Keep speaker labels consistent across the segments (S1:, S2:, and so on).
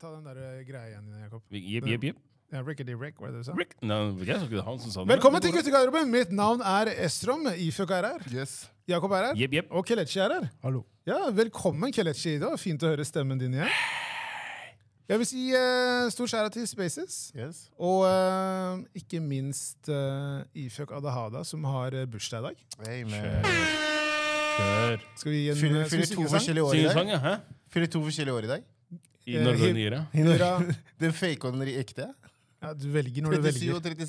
S1: Ta den der eh, greia igjen, Jakob.
S2: Jep, jep, jep.
S1: Ja, Rickety Rick, var det det du sa?
S2: Rick. Nei, jeg sa ikke det. Han som sa det.
S1: Velkommen til guttegarderoben! Mitt navn er Estrom. Ifjok er her.
S3: Yes.
S1: Jakob er her.
S2: Jep, jep.
S1: Og Kelechi er her.
S3: Hallo.
S1: Ja, Velkommen, Kelechi. Det var fint å høre stemmen din igjen. Jeg vil si eh, stor skjæra til Spaces.
S3: Yes.
S1: Og eh, ikke minst uh, Ifjok Adahada, som har eh, bursdag i dag.
S3: Hey,
S2: Kjør.
S3: man.
S2: Kjør.
S1: Skal vi gi en
S3: Fyller
S1: eh, skal vi
S3: fyller
S1: synge
S3: to
S1: en sang?
S3: forskjellige år i dag.
S2: Singesang, ja. Hæ?
S3: Fyller to forskjellige år i dag.
S2: I
S1: Eh,
S2: Norge
S1: hip-
S2: og Nyre.
S1: Hurra.
S3: Den fake og den ekte.
S1: Ja, du velger når du
S3: 37
S1: velger.
S3: og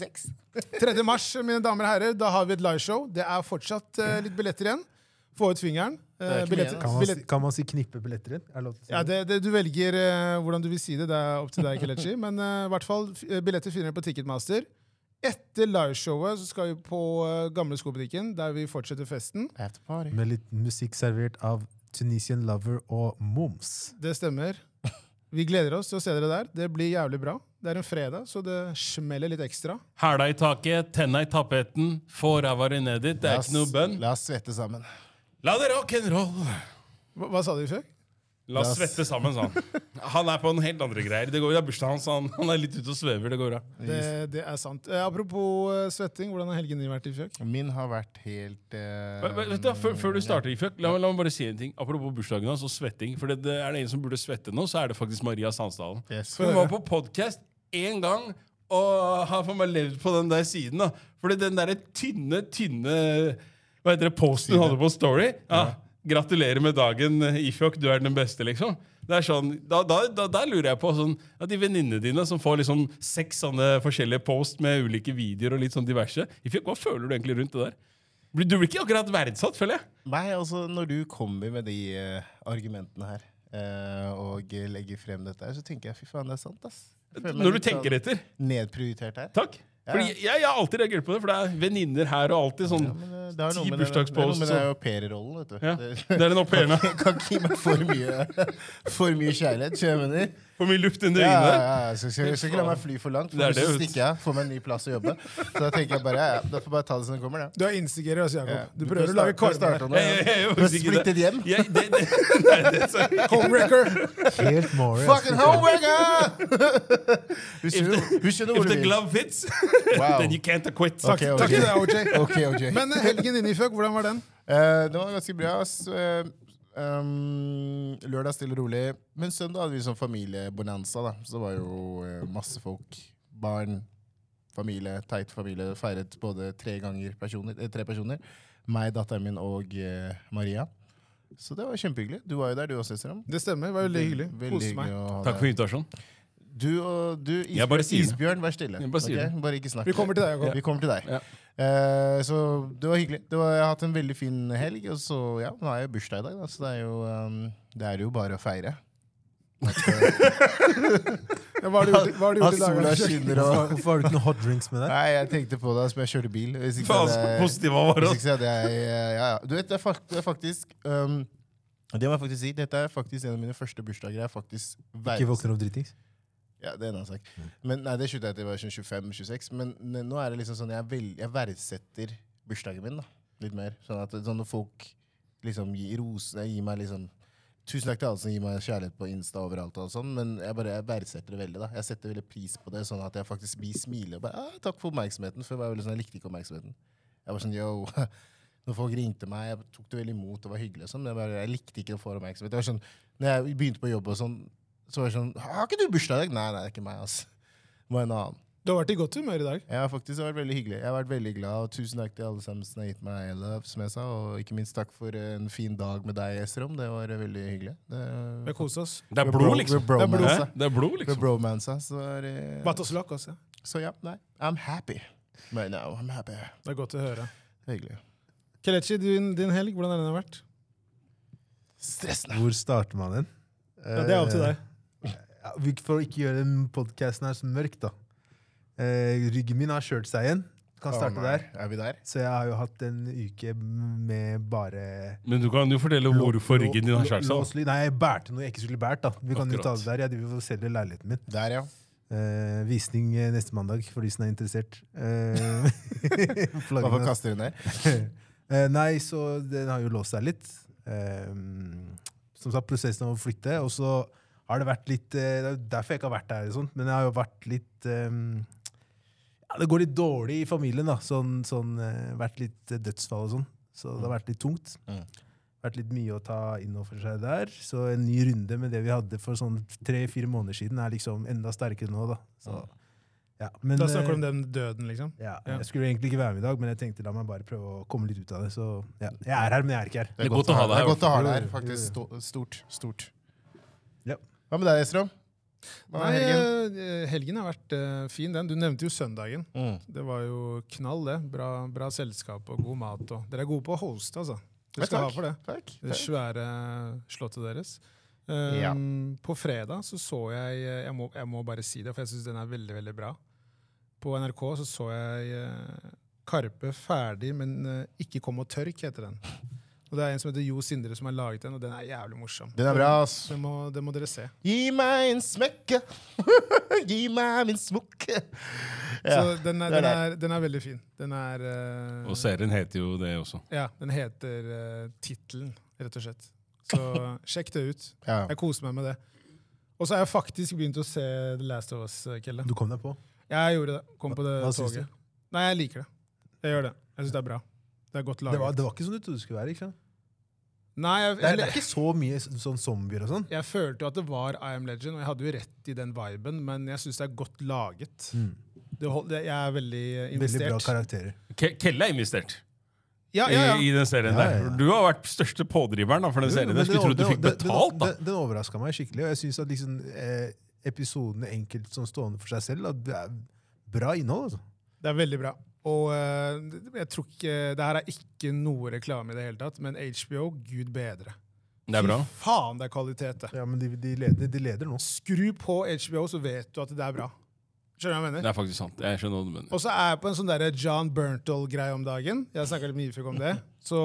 S3: 36.
S1: 3. mars, mine damer og herrer, da har vi et liveshow. Det er fortsatt eh, litt billetter igjen. Få ut fingeren. Eh,
S3: Det er ikke
S1: billetter,
S3: mye altså.
S4: Kan man,
S1: billett-
S4: si- kan man si knippebilletter? Er det lov til å si
S1: Ja, det, det, du velger eh, hvordan du vil si det. Det er opp til deg, Kelechi. Men eh, i hvert fall, f- eh, billetter finner dere på Ticketmaster. Etter liveshowet så skal vi på eh, Gamle skobutikken, der vi fortsetter festen.
S3: After party.
S4: Med litt musikk servert av Tunisian Lover og Moms.
S1: Det stemmer. Vi gleder oss til å se dere der. Det blir jævlig bra. Det er en fredag, så det smeller litt ekstra.
S2: Hæla i taket, tenna i tapeten, få ræva di ned dit. Det er ikke noe bønn.
S3: La oss svette sammen.
S2: La det rock'n'roll!
S1: Hva, hva sa du, Føk?
S2: La oss
S3: oss-
S2: svette sammen, sa han. Han er på en helt andre greier. Det går jo, Det er bursdagen hans, så han, han er litt ute og svever. Det går bra.
S1: Det, det er sant. Eh, apropos eh, svetting, hvordan har helgen din vært i Føk?
S3: Min har vært helt eh,
S2: Men- men Vet du, hva, før, før du starter, Ifjøk, la, meg- la meg bare si en ting. Apropos bursdagen hans og svetting. For det, det er det en som burde svette nå, så er det faktisk Maria Sandsdalen.
S3: Yes.
S2: For hun var på podkast én gang og har for meg levd på den der siden. da. Fordi den derre tynne, tynne hva heter det, posten hun hadde på Story ja, Gratulerer med dagen, Ifjok, du er den beste, liksom. Det er sånn, da, da, da, der lurer jeg på sånn, at de venninnene dine som får liksom seks sånne forskjellige post med ulike videoer og litt sånn diverse Ifjok, hva føler du egentlig rundt det der? Blir- Du blir ikke akkurat verdsatt, føler jeg.
S3: Nei, altså, når du kommer med de eh, argumentene her eh, og legger frem dette her, så tenker jeg fy faen, det er sant, ass. Jeg føler meg
S2: Når du
S3: litt sånn
S2: tenker etter.
S3: Nedprioritert her.
S2: Takk. Fordi jeg, jeg har alltid reagert på det, for det er venninner her og alltid sånn
S3: Ja, men eh, det er
S2: Ti
S3: noe med den- det er noe
S2: bursdagspost,
S3: med den
S2: så-
S3: au pair-rollen, vet du.
S2: Ja,
S3: Det-
S2: det er den au pairen, ja.
S3: Kan, kan ikke gi meg for mye, for mye kjærlighet, skjønner du hva jeg mener.
S2: Hvor mye luft under
S3: Ja, ja,
S2: øynene.
S3: ja, ja, så skal jeg skal ikke la meg fly for langt, for
S2: Det er
S3: hvis så
S2: det, vet du.
S3: stikker jeg, får meg en ny plass å jobbe. Så da tenker jeg bare, ja, ja, da får jeg bare ta det som det kommer, da.
S1: Du er instigerer oss, Jakob.
S3: Ja.
S1: Du prøver å lage kårene.
S3: starte
S2: Jeg- jeg- jeg
S3: nå.
S2: gjør
S3: Du har
S2: faktisk ikke det.
S3: splittet hjem.
S2: Jeg, det, det, nei, det, så,
S1: Homewrecker!
S4: Helt Maury.
S3: Fucking homewrecker! Du skjønner, du skjønner
S2: if
S3: hvor du
S2: the
S3: vil.
S2: glove fits,
S3: Wow.
S2: then you can't acquit.
S3: Takk. Ok,
S1: Takk til deg, OJ.
S3: Ok, OJ.
S1: Men eh, helgen din i Føk, hvordan var den?
S3: Eh, det var ganske bra. ass. Eh, ehm, lørdag stille og rolig. Men søndag hadde vi sånn familiebonanza. da. Så det var jo eh, masse folk. Barn, familie, teit familie. Feiret både tre ganger personer, eh, tre personer. Meg, datteren min og eh, Maria. Så det var kjempehyggelig. Du var jo der, du også, Estram.
S1: Det stemmer. det var Veldig hyggelig.
S3: Veldig
S1: Koste meg.
S3: hyggelig å ha
S2: Takk
S3: deg.
S2: for invitasjonen.
S3: Du og du,
S2: Jeg bare
S3: Isbjørn,
S2: sier det.
S3: Isbjørn, vær stille.
S2: Jeg bare sier
S3: ok?
S2: det.
S3: bare ikke snakk.
S1: Vi kommer til deg, Jakob.
S3: Vi kommer til deg.
S2: Ja.
S3: Eh, så det var hyggelig. Det var, jeg har hatt en veldig fin helg, og så ja, nå er jeg bursdag i dag, da, så det er jo, um, det er jo bare å feire. eh,
S1: Ja, Hva har du gjort, hva har du gjort
S3: At
S1: i dag?
S3: sola
S1: Anders?
S3: skinner
S4: Hvorfor,
S3: og
S4: hvorfor har du ikke noen hot drinks med deg?
S3: Nei, jeg tenkte på det som jeg kjørte bil. Hvis ikke
S2: Faen,
S3: så
S2: så
S3: hadde jeg-
S2: positiv han var.
S3: hvis
S2: ass.
S3: ikke så hadde jeg eh, ja, ja. Du vet, det er, fak det er faktisk um, Det må jeg faktisk si. Dette er faktisk en av mine første bursdager. Jeg er faktisk
S4: Ikke
S3: verdens
S4: våkner opp dritings?
S3: Ja, det er en annen sak. Men, nei, det slutta jeg til jeg var sånn 25-26. Men n- nå er det liksom sånn jeg, vel, jeg verdsetter bursdagen min da, litt mer. Sånn at sånn når folk liksom gir ros nei, gir meg liksom Tusen takk til alle som gir meg kjærlighet på Insta overalt. og sånn, Men jeg bare jeg verdsetter det veldig. da. Jeg setter veldig pris på det, sånn at jeg faktisk blir smilende. og bare, ah, 'Takk for oppmerksomheten.' For jeg var veldig sånn, jeg likte ikke oppmerksomheten. Jeg var sånn, yo, Når folk ringte meg, jeg tok det veldig imot og var hyggelig. og sånn, men jeg, bare, jeg likte ikke å få oppmerksomhet. Det var sånn, når jeg begynte på jobb, og sånn, så var det sånn 'Har ikke du bursdag i dag?' Nei, nei, det er ikke meg. altså. Det var en annen.
S1: Du har vært i godt humør i dag.
S3: Jeg har faktisk vært veldig hyggelig. Jeg har vært veldig glad, og Tusen takk til alle sammen som har gitt meg love, som jeg sa. Og ikke minst takk for en fin dag med deg, Esrom. Det var eh, veldig hyggelig.
S1: Vi
S3: Det,
S1: har kost oss.
S2: Det er blod,
S3: Ved
S2: liksom.
S1: Det er blod.
S3: bromansa.
S2: Hæ? Det er blod,
S3: Ved
S2: liksom.
S3: bromansa. Så, var det-
S1: Batt oss altså. lakk også.
S3: så ja, nei. I'm happy. Right now, I'm happy.
S1: Det er godt å høre.
S3: Det er hyggelig.
S1: Kelechi, din, din helg, hvordan har den vært?
S3: Stressende.
S4: Hvor starter man den?
S1: Ja, det er opp til deg.
S4: Ja, vi- for å ikke gjøre den podcasten her så mørk, da. Eh, ryggen min har kjørt seg igjen. Kan starte
S3: Å, nei.
S4: der.
S3: Er vi der?
S4: Så jeg har jo hatt en uke med bare
S2: Men du kan jo fortelle hvorfor ryggen din har skjært seg. ass.
S4: Låslyd. Nei, jeg bærte noe jeg ikke skulle bært. da. Vi kan jo ta det
S2: Akkurat.
S4: der. Jeg driver og selger leiligheten min.
S3: Der, ja.
S4: Eh, visning eh, neste mandag, for de som er interessert. Eh, flaggene-
S3: Hvorfor kaster du den der?
S4: Eh, nei, så den har jo låst seg litt. Eh, som sagt, prosessen av å flytte. Og så har det vært litt eh, Det er jo derfor jeg ikke har vært der, og sånt, men jeg har jo vært litt eh, ja, Det går litt dårlig i familien, da. Sånn, sånn eh, Vært litt eh, dødsfall og sånn. Så det har vært litt tungt.
S3: Mm.
S4: Vært litt mye å ta inn over seg der. Så en ny runde med det vi hadde for sånn tre-fire måneder siden, er liksom enda sterkere nå, da. Så,
S3: Mm.
S4: ja, men,
S1: Da snakker du
S4: eh,
S1: om den døden, liksom?
S4: ja,
S1: Ja.
S4: Jeg skulle egentlig ikke være med i dag, men jeg tenkte la meg bare prøve å komme litt ut av det. Så ja, jeg er her, men jeg er ikke her.
S2: Det er godt å ha deg
S3: det
S2: her, Mm.
S3: er godt å ha
S4: i
S3: deg her.
S4: hvert fall.
S3: Faktisk Sto- stort. Stort.
S4: Ja.
S3: Hva med deg, Estrom? Hva
S1: Nei,
S3: med helgen?
S1: eh, helgen har vært eh, fin, den. Du nevnte jo søndagen.
S2: eh,
S3: Mm.
S1: Det var jo knall, det. Bra, bra selskap og god mat. Og. Dere er gode på å hoste, altså.
S3: Ja,
S1: Dere skal
S3: takk.
S1: ha for det.
S3: Takk.
S1: Det svære slottet deres. Um,
S3: Ja.
S1: På fredag så så jeg jeg må, jeg må bare si det, for jeg syns den er veldig veldig bra. På NRK så så jeg eh, Karpe ferdig, men eh, ikke kom og tørk, heter den. Og Det er en som heter Jo Sindre som har laget den, og den er jævlig morsom.
S3: Den er bra, ass.
S1: Det må, det må dere se.
S3: Gi meg en smekke. Gi meg min smukke. Ja.
S1: så den er,
S3: det er
S1: den, er, den er veldig fin. Den er eh,
S2: Og serien heter jo det også.
S1: Ja, den heter uh, tittelen, rett og slett. Så sjekk det ut.
S3: ja.
S1: Jeg koser meg med det. Og så har jeg faktisk begynt å se The Last of Us, Kelle.
S4: Du kom deg på.
S1: Jeg gjorde det. Kom på det
S4: Hva syns
S1: toget. Nei, jeg liker det. Jeg gjør det. Jeg syns det er bra. Det er godt
S4: Det
S1: laget.
S4: var, det var ikke sånn du trodde det skulle være. ikke sant?
S1: Nei, jeg,
S4: Det er, det
S1: jeg,
S4: er ikke så mye s- sånn zombier og sånn.
S1: jeg følte jo at det var I Am Legend, og jeg hadde jo rett i den viben, men jeg syns det er godt laget. Det hold, det, jeg er veldig eh,
S4: Mm. Veldig bra
S1: investert.
S4: karakterer.
S2: Ke- Kelle er investert
S1: ja, ja,
S2: I, i
S1: ja.
S2: den serien
S4: Ja, ja,
S2: der.
S4: ja.
S2: Du har vært største pådriveren da, for den
S4: Jo,
S2: serien.
S4: men
S2: Jeg skulle
S4: den-
S2: tro du fikk
S4: den- den-
S2: betalt, da.
S4: Den, den, den overraska meg skikkelig, og jeg syns at liksom, eh, episodene enkelt som stående for seg selv, at det er bra innhold. altså.
S1: Det er veldig bra. Og eh, jeg tror ikke Det her er ikke noe reklame i det hele tatt, men HBO, gud bedre.
S2: Det er bra.
S1: Fy faen, det er kvalitet, det.
S4: Ja, men de, de, leder, de leder nå.
S1: Skru på HBO, så vet du at det er bra. Skjønner du hva jeg mener?
S2: Det er faktisk sant. Jeg skjønner hva du mener.
S1: Og så er jeg på en sånn der John Berntal-greie om dagen. Jeg snakka litt med Ifjok om det. Så,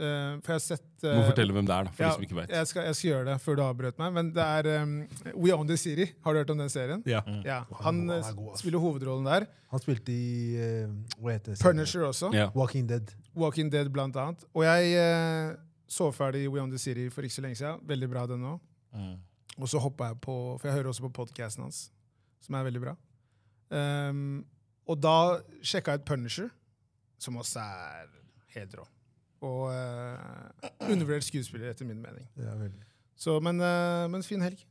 S1: eh, for jeg har sett eh,
S2: Du må fortelle hvem det er, da, for
S1: ja,
S2: de som ikke vet.
S1: Jeg skal, jeg skal gjøre det før du avbrøt meg. Men det er eh, We Own The City. Har du hørt om den serien?
S2: Ja.
S1: Ja, Han
S4: Han er
S1: eh,
S4: god, ass.
S1: spiller hovedrollen der.
S4: Han spilte i eh, hva heter det?
S1: Punisher også.
S2: Ja.
S4: Walking Dead.
S1: Walking Dead blant annet. Og jeg eh, så ferdig We Own The City for ikke så lenge siden. Veldig bra den nå. Og så hoppa jeg på, for jeg hører også på podkasten hans, som er veldig bra. Ehm, og da sjekka jeg ut Punisher, som også er helt rå. Og eh, undervurdert skuespiller, etter min mening.
S4: Ja, veldig.
S1: Så, men, eh, men fin helg.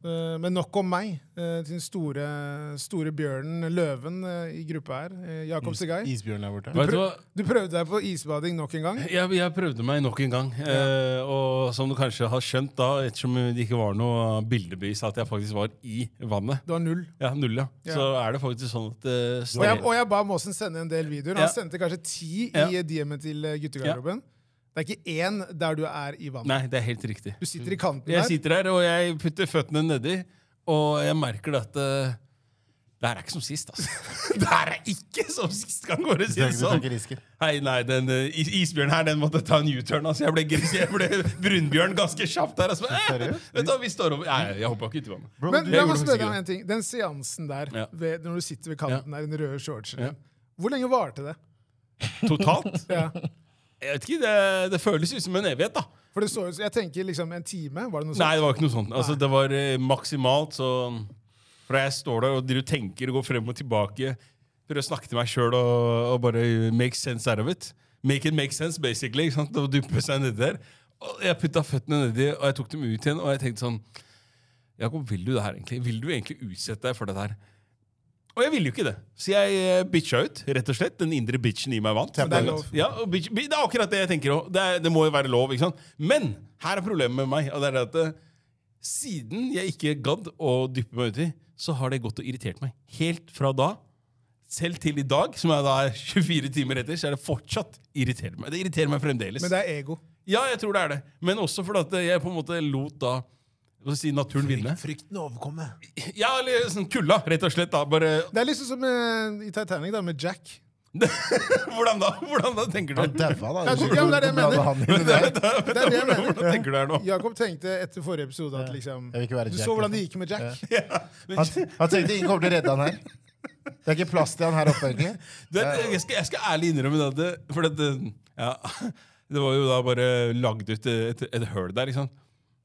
S1: Eh, men nok om meg. eh, til den store, store bjørnen, løven, eh, i gruppa her. eh, Jakob Segai.
S3: Isbjørn der borte.
S2: Vet du hva?
S1: Du prøvde deg på isbading nok en gang.
S2: Jeg, jeg prøvde meg nok en gang. Eh, og som du kanskje har skjønt, da, ettersom det ikke var noe bildebevis at jeg faktisk var i vannet,
S1: Det var null.
S2: ja, null, ja.
S1: Ja.
S2: så er det faktisk sånn at eh,
S1: Og jeg,
S2: stre-
S1: og jeg ba Måsen sende en del videoer.
S2: Ja.
S1: Han sendte kanskje ti i
S2: Ja.
S1: DM-en til eh, guttegarderoben. Det er ikke én der du er i vannet.
S2: Nei, det er helt riktig.
S1: Du sitter i kanten
S2: Jeg
S1: der.
S2: sitter her, og jeg putter føttene nedi, og jeg merker det at eh, det her er ikke som sist, altså. det her er ikke som sist, kan gå og
S3: Du
S2: si det
S3: tar- du tar
S2: sånn.
S3: ikke risken.
S2: Hei, nei, den eh, is- isbjørnen her, den måtte ta en U-turn, altså. Jeg ble, gris- jeg ble brunbjørn ganske kjapt her. Altså. Eh,
S3: Seriøst?
S2: vet du hva, vi står over. Nei, jeg hoppa ikke uti vannet.
S3: Bro,
S1: Men
S3: du-
S1: la
S2: gjorde
S1: meg
S2: faktisk
S1: spørre deg om
S2: ikke
S1: en ting. Den seansen der,
S2: Ja.
S1: ved, når du sitter ved kanten der i den røde shortsen
S2: Ja.
S1: din, hvor lenge varte det?
S2: Totalt?
S1: Ja.
S2: Jeg vet ikke, det, det føles ut som en evighet, da.
S1: For det så ut som- Jeg tenker liksom en time. Var det noe
S2: Nei,
S1: sånt?
S2: det var ikke noe sånt. Altså, det var eh, maksimalt, så Fra jeg står der og driver og tenker og går frem og tilbake, prøver å snakke til meg sjøl og, og bare make sense out of it. Make it make sense, basically. Ikke sant? Og duppe seg nedi der. Og jeg putta føttene nedi, og jeg tok dem ut igjen, og jeg tenkte sånn Jakob, vil du det her egentlig? Vil du egentlig utsette deg for dette her? Og jeg ville jo ikke det, så jeg eh, bitcha ut. rett og slett. Den indre bitchen i meg vant.
S1: Men det er lov.
S2: Ja, og bitch, bi- det er akkurat det jeg tenker òg. Det, er- det må jo være lov. ikke sant? Men her er problemet med meg. og det er det at eh, Siden jeg ikke gadd å dyppe meg uti, så har det gått og irritert meg. Helt fra da, selv til i dag, som er da 24 timer etter, så er det fortsatt irriterer meg. Det irriterer meg fremdeles.
S1: Men det er ego.
S2: Ja, jeg tror det er det. Men også fordi at jeg på en måte lot da hva skal jeg si, naturen vinne.
S4: Frykten overkomme.
S2: Ja, eller sånn kulda, rett og slett. da, bare...
S1: Det er liksom som eh, i Titanic, da, med Jack.
S2: Hvordan da? Hvordan da, tenker du?
S3: Han daua, da.
S1: Ja, det er det jeg mener.
S3: Han inn i det her.
S1: Det er det jeg mener.
S2: Hvordan tenker du her nå?
S1: Jakob tenkte etter forrige episode at liksom
S3: Jeg vil ikke være
S1: Du
S3: Jack,
S1: så hvordan det
S3: liksom.
S1: gikk med Jack.
S2: Men,
S3: Han, han tenkte ingen kommer til å redde han her. Det er ikke plass til han her oppe, egentlig.
S2: du vet, jeg, skal, jeg skal ærlig innrømme det, at eh, det, for det, ja, det var jo da bare lagd ut et, et høl der, ikke sant?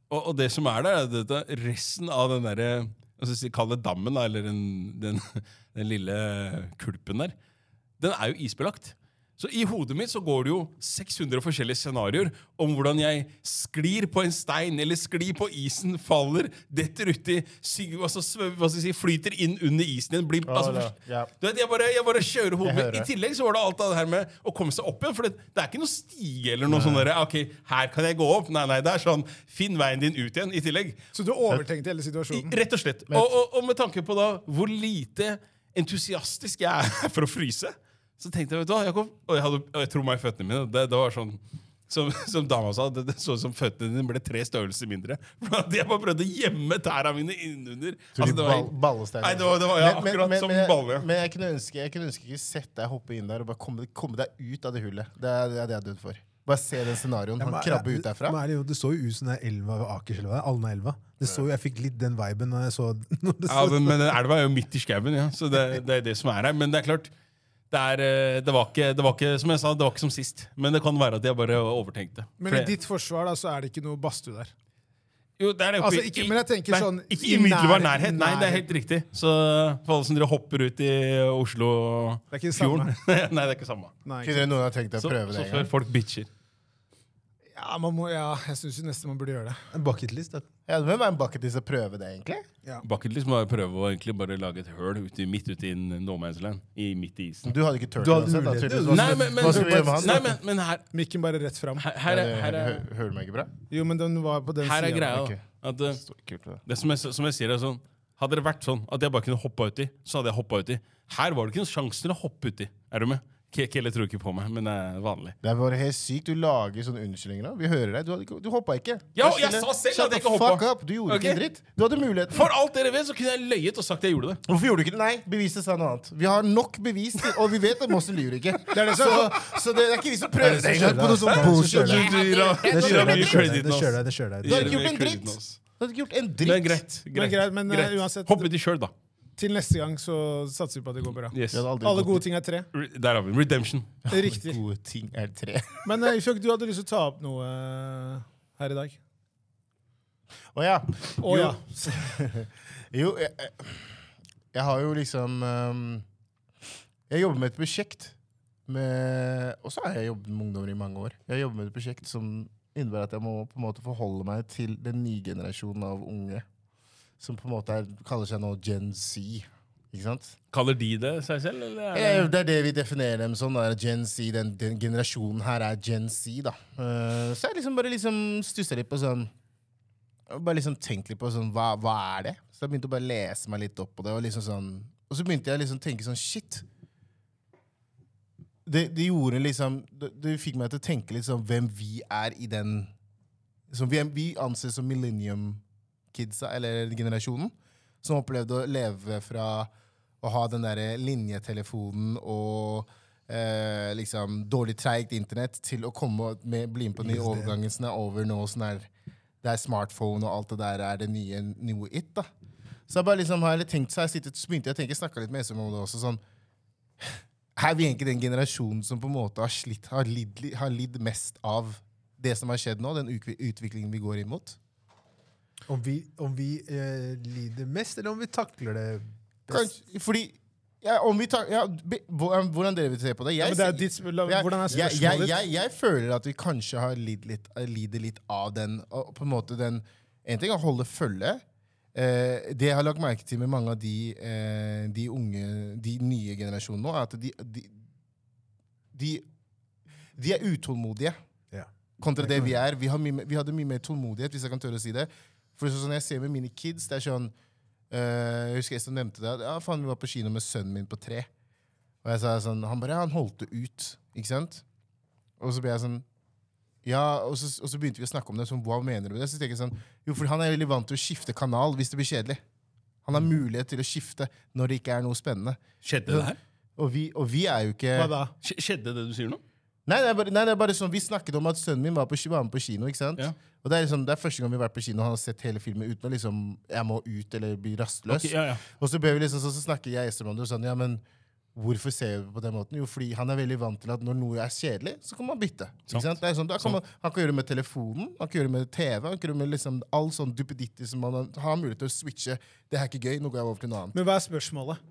S2: Og, og det som er der, er at dette- resten av den derre altså, si- Kall det dammen, da, eller den, den, den lille kulpen der. Den er jo isbelagt. Så i hodet mitt så går det jo 600 forskjellige scenarioer om hvordan jeg sklir på en stein, eller sklir på isen, faller, detter uti, sy- altså, svø- hva skal jeg si, flyter inn under isen igjen. Blir, altså,
S3: da, ja.
S2: du vet, jeg bare, jeg bare kjører hodet
S3: Jeg
S2: mitt. I
S3: hører.
S2: tillegg så var det alt det her med å komme seg opp igjen. For det, det er ikke noe stige eller noe sånn derre OK, her kan jeg gå opp. Nei, nei, det er sånn Finn veien din ut igjen, i tillegg.
S1: Så du overtenkte hele
S2: I,
S1: situasjonen?
S2: rett og slett. Og, og, og med tanke på da hvor lite entusiastisk jeg er for å fryse, så tenkte jeg, vet du hva, Jakob Og jeg, hadde, og jeg tror meg i føttene mine. Det, det var sånn som, som dama sa, det, det så ut som føttene dine ble tre størrelser mindre. For at jeg bare prøvde å gjemme tæra mine innunder.
S3: Tror
S2: Altså,
S3: de
S2: det var-
S3: ball, ballestein.
S2: Nei, det var, det var ja,
S3: Men- men-
S2: akkurat
S3: men-
S2: som
S3: men jeg-
S2: balle.
S3: Men jeg kunne ønske jeg kunne ønske ikke sett deg hoppe inn der og bare komme, komme deg ut av det hullet. Det er det, er det jeg er død for. Bare se den scenarioen. Han krabber ut derfra.
S4: Men er det, jo, det så jo ut som den elva ved Akerselva. Alnaelva. Det så jo, jeg fikk litt den viben når jeg så når det
S2: Ja,
S4: så-
S2: men, men elva er jo midt i skauen, ja. så det, det er det som er her. Men det er klart, det, er, eh, det, var ikke, det var ikke som jeg sa, det var ikke som sist. Men det kan være at jeg bare overtenkte.
S1: Men i
S2: For jeg-
S1: ditt forsvar da, så er det ikke noe badstue der.
S2: jo, det er det jo
S1: Altså, ikke- men jeg tenker
S2: nei,
S1: sånn,
S2: Ikke
S1: i
S2: i umiddelbar
S1: nær-
S2: nærhet. Nei, det er helt riktig. Så for alle som dere hopper ut i
S1: Det er ikke det samme.
S2: Oslofjorden Nei, det er ikke samme.
S1: Nei,
S3: Kunne
S1: ikke.
S3: dere noen ha tenkt deg å
S2: Så,
S3: prøve
S2: så
S3: det en
S2: før
S3: gang?
S2: folk bitcher.
S1: Ja, man må, ja, jeg syns nesten man burde gjøre det.
S4: En bucketlist. da.
S3: Ja, det må jo være en bucketlist å prøve det, egentlig.
S2: Bucketlist liksom, må jeg prøve å egentlig bare lage et høl ute, i- midt ute i no man's land. I, midt i isen.
S3: Du hadde ikke turt
S4: Du hadde
S3: uansett, da,
S4: muligheter.
S3: tydeligvis.
S4: Du-
S3: Hva
S2: Nei,
S3: skal-
S2: men, men,
S3: hva skal vi gjøre med han?
S2: nei, men, men her,
S1: Mikken bare rett fram.
S2: her, her, er- her, er-
S3: Hø- Hører du meg ikke bra?
S1: Jo, men den var på den
S2: her er
S1: sida.
S2: greia.
S3: ok.
S2: da, At, eh,
S3: Kult, det.
S2: Det som jeg, som jeg sier er sånn Hadde det vært sånn at jeg bare kunne hoppa uti, så hadde jeg hoppa uti. Her var det ikke noen sjanse til å hoppe uti. Er du med? Ke- Kelle tror ikke på meg, men det er vanlig.
S3: Det er bare helt sykt. Du lager sånne unnskyldninger. da. Vi hører deg. Du, hadde ikke- du hoppa ikke.
S2: Ja,
S3: Vær
S2: jeg
S3: stille.
S2: sa selv
S3: Shut
S2: at jeg
S3: the
S2: ikke hoppa.
S3: Fuck up. Du gjorde
S2: Ok?
S3: ikke en dritt. Du hadde muligheten.
S2: For alt dere vet, så kunne jeg løyet og sagt at jeg gjorde det.
S3: Hvorfor gjorde du ikke det? Nei, beviset sa noe annet. Vi har nok bevis, til, og vi vet at Mossen lyver ikke. Det er det som, så, så det er ikke vi som prøver
S4: Det er det
S3: det
S4: som
S3: engang på noe
S4: skjer, da.
S3: sånn
S4: Det er
S3: bullshit.
S4: det som skjer,
S3: Du
S4: da. Det
S2: Det
S4: kjører
S2: er
S4: deg, det
S2: mye
S4: kjører
S2: credit
S4: deg, det
S2: nå, ass.
S4: kjører deg, det kjører deg.
S3: Du hadde ikke
S2: Gir meg
S3: gjort en
S2: credit
S3: dritt.
S2: nå, ass.
S3: hadde ikke gjort en
S2: Men
S3: dritt.
S2: greit.
S1: Men greit, men, eh, uansett-
S2: Hopp uti sjøl, da.
S1: Til neste gang så satser vi på at det går bra.
S2: Yes.
S3: Jeg hadde aldri
S1: Alle
S3: gått-
S1: gode ting er tre.
S2: Re- Der har vi den. Redemption.
S1: Riktig.
S3: Gode ting er tre.
S1: Men eh, Ifjok, du hadde lyst til å ta opp noe eh, her i dag.
S3: Å ja.
S1: Å ja.
S3: Jo, jeg, jeg- jeg har jo liksom um, Jeg jobber med et prosjekt. med- Og så har jeg jobbet med ungdommer i mange år. Jeg jobber med et prosjekt som innebærer at jeg må på en måte forholde meg til den nye generasjonen av unge. Som på en måte er, kaller seg nå Gen Z. Ikke sant?
S2: Kaller de det seg selv, eller?
S3: Ja,
S2: Er det?
S3: det er det vi definerer dem som. Da. Gen Z, den, den generasjonen her er Gen Z, da. Eh, så jeg liksom bare liksom stussa litt på sånn Bare liksom tenkt litt på sånn, hva, hva er det? Så jeg begynte å bare lese meg litt opp på det. Og liksom sånn Og så begynte jeg liksom å tenke sånn Shit. Det, det gjorde liksom det, det fikk meg til å tenke litt sånn hvem vi er i den som vi, vi anses som millennium-kidsa, eller generasjonen, som opplevde å leve fra å ha den der linjetelefonen og eh, liksom dårlig treigt internett, til å komme med, bli med på den nye overgangen som er over nå, sånn der, det er smartphone og alt det der er det nye new it, da. Så jeg bare liksom har litt tenkt, så har jeg sittet, så begynte jeg å tenke, snakka litt med Esum om det også, sånn er vi egentlig den generasjonen som på en måte har, slitt, har, lidd, har lidd mest av det som har skjedd nå, den ukvi- utviklingen vi går imot?
S4: Om vi, om vi eh, lider mest, eller om vi takler det best?
S3: Kanskje, fordi ja, om vi tar, ja, be, hvordan hvordan dere vil se på det?
S1: ja
S3: Jeg,
S1: men det er
S3: sier-
S1: ditt, la,
S3: jeg,
S1: hvordan er
S3: jeg, jeg,
S1: spørsmålet ditt?
S3: jeg, jeg føler at vi kanskje har lidd litt, lider litt av den. Og på en måte den En ting er å holde følge. Eh, det jeg har lagt merke til med mange av de, eh, de unge, de nye generasjonene nå, er at de, de, de, de er utålmodige
S4: Ja.
S3: kontra det vi er. Vi, har mye, mer- vi hadde mye mer tålmodighet, hvis jeg kan tørre å si det. For sånn som jeg ser med mine kids, det er sånn øh, Jeg husker jeg som nevnte det. at, Ja, faen, vi var på kino med sønnen min på tre. Og jeg sa sånn Han bare Ja, han holdt det ut. Ikke sant? Og så ble jeg sånn ja, og så, og så begynte vi å snakke om det. Sånn, hva mener du med det? Så tenker jeg sånn, jo, for Han er veldig vant til å skifte kanal hvis det blir kjedelig. Han har mulighet til å skifte når det ikke er noe spennende.
S2: Skjedde det her?
S3: Og vi, og vi er jo ikke
S1: Hva da?
S2: Sk- Skjedde det du sier nå?
S3: Nei, det er bare, nei, det er bare sånn, Vi snakket om at sønnen min var, på, ki- var med på kino. ikke sant?
S2: Ja.
S3: Og Det er liksom, det er første gang vi har vært på kino og han har sett hele filmen uten å liksom, jeg må ut eller bli
S2: Ok,
S3: rastløs.
S2: ja, ja.
S3: Og så ble vi liksom, så, så snakker jeg og Ester om det og sånn, ja, men Hvorfor ser vi på den måten? Jo, fordi han er veldig vant til at når noe er kjedelig, så kan man bytte. Ikke sant? Det er sånn, da kan man, han kan gjøre det med telefonen, han kan gjøre det med TV, han kan gjøre det med liksom all sånn duppeditti som man har- har mulighet til å switche. Det her er ikke gøy, nå går jeg over til noe annet.
S1: Men hva er spørsmålet?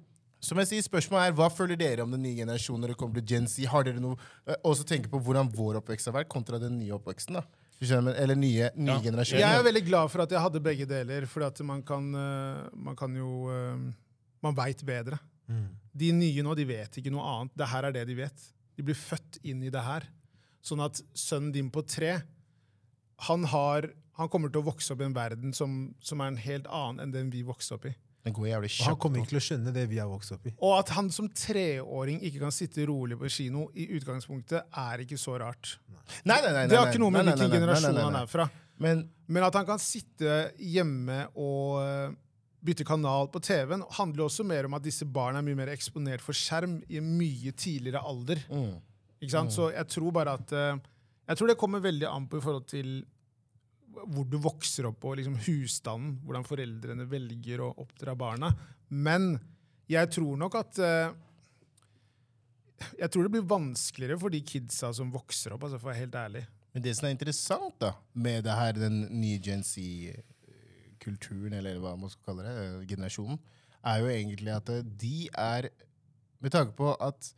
S3: Som jeg sier, spørsmålet er, Hva føler dere om den nye generasjonen når det kommer til Gen Z? Har dere noe, eh, også tenke på hvordan vår oppvekst har vært kontra den nye oppveksten? da? Du skjønner, men- Eller nye, nye generasjoner.
S1: Jeg er veldig glad for at jeg hadde begge deler, for at man kan, øh, man kan jo øh, Man veit bedre.
S3: Mm.
S1: De nye nå, de vet ikke noe annet. Det her er det de vet. De blir født inn i det her. Sånn at sønnen din på tre, han, har, han kommer til å vokse opp i en verden som, som er en helt annen enn den vi vokste opp i.
S3: Den går jævlig
S4: Og han
S3: kjapt.
S4: kommer ikke til å skjønne det vi har vokst opp i.
S1: Og at han som treåring ikke kan sitte rolig på kino, i utgangspunktet er ikke så rart.
S3: Nei, nei, nei, nei,
S1: Det har ikke noe med
S3: nei, nei,
S1: hvilken
S3: nei, nei, nei,
S1: generasjon
S3: nei,
S1: han
S3: nei.
S1: er fra.
S3: Men
S1: Men at han kan sitte hjemme og eh, bytte kanal på TV-en, handler også mer om at disse barna er mye mer eksponert for skjerm i en mye tidligere alder. Ikke sant? Så jeg tror bare at eh, Jeg tror det kommer veldig an på i forhold til hvor du vokser opp, og liksom husstanden, hvordan foreldrene velger å oppdra barna. Men jeg tror nok at eh, jeg tror det blir vanskeligere for de kidsa som vokser opp. altså for å være helt ærlig.
S3: Men det som er interessant da, med det her, den nye Gen Z-kulturen, eller hva man skal kalle det, eh, generasjonen, er jo egentlig at eh, de er, med tanke på at,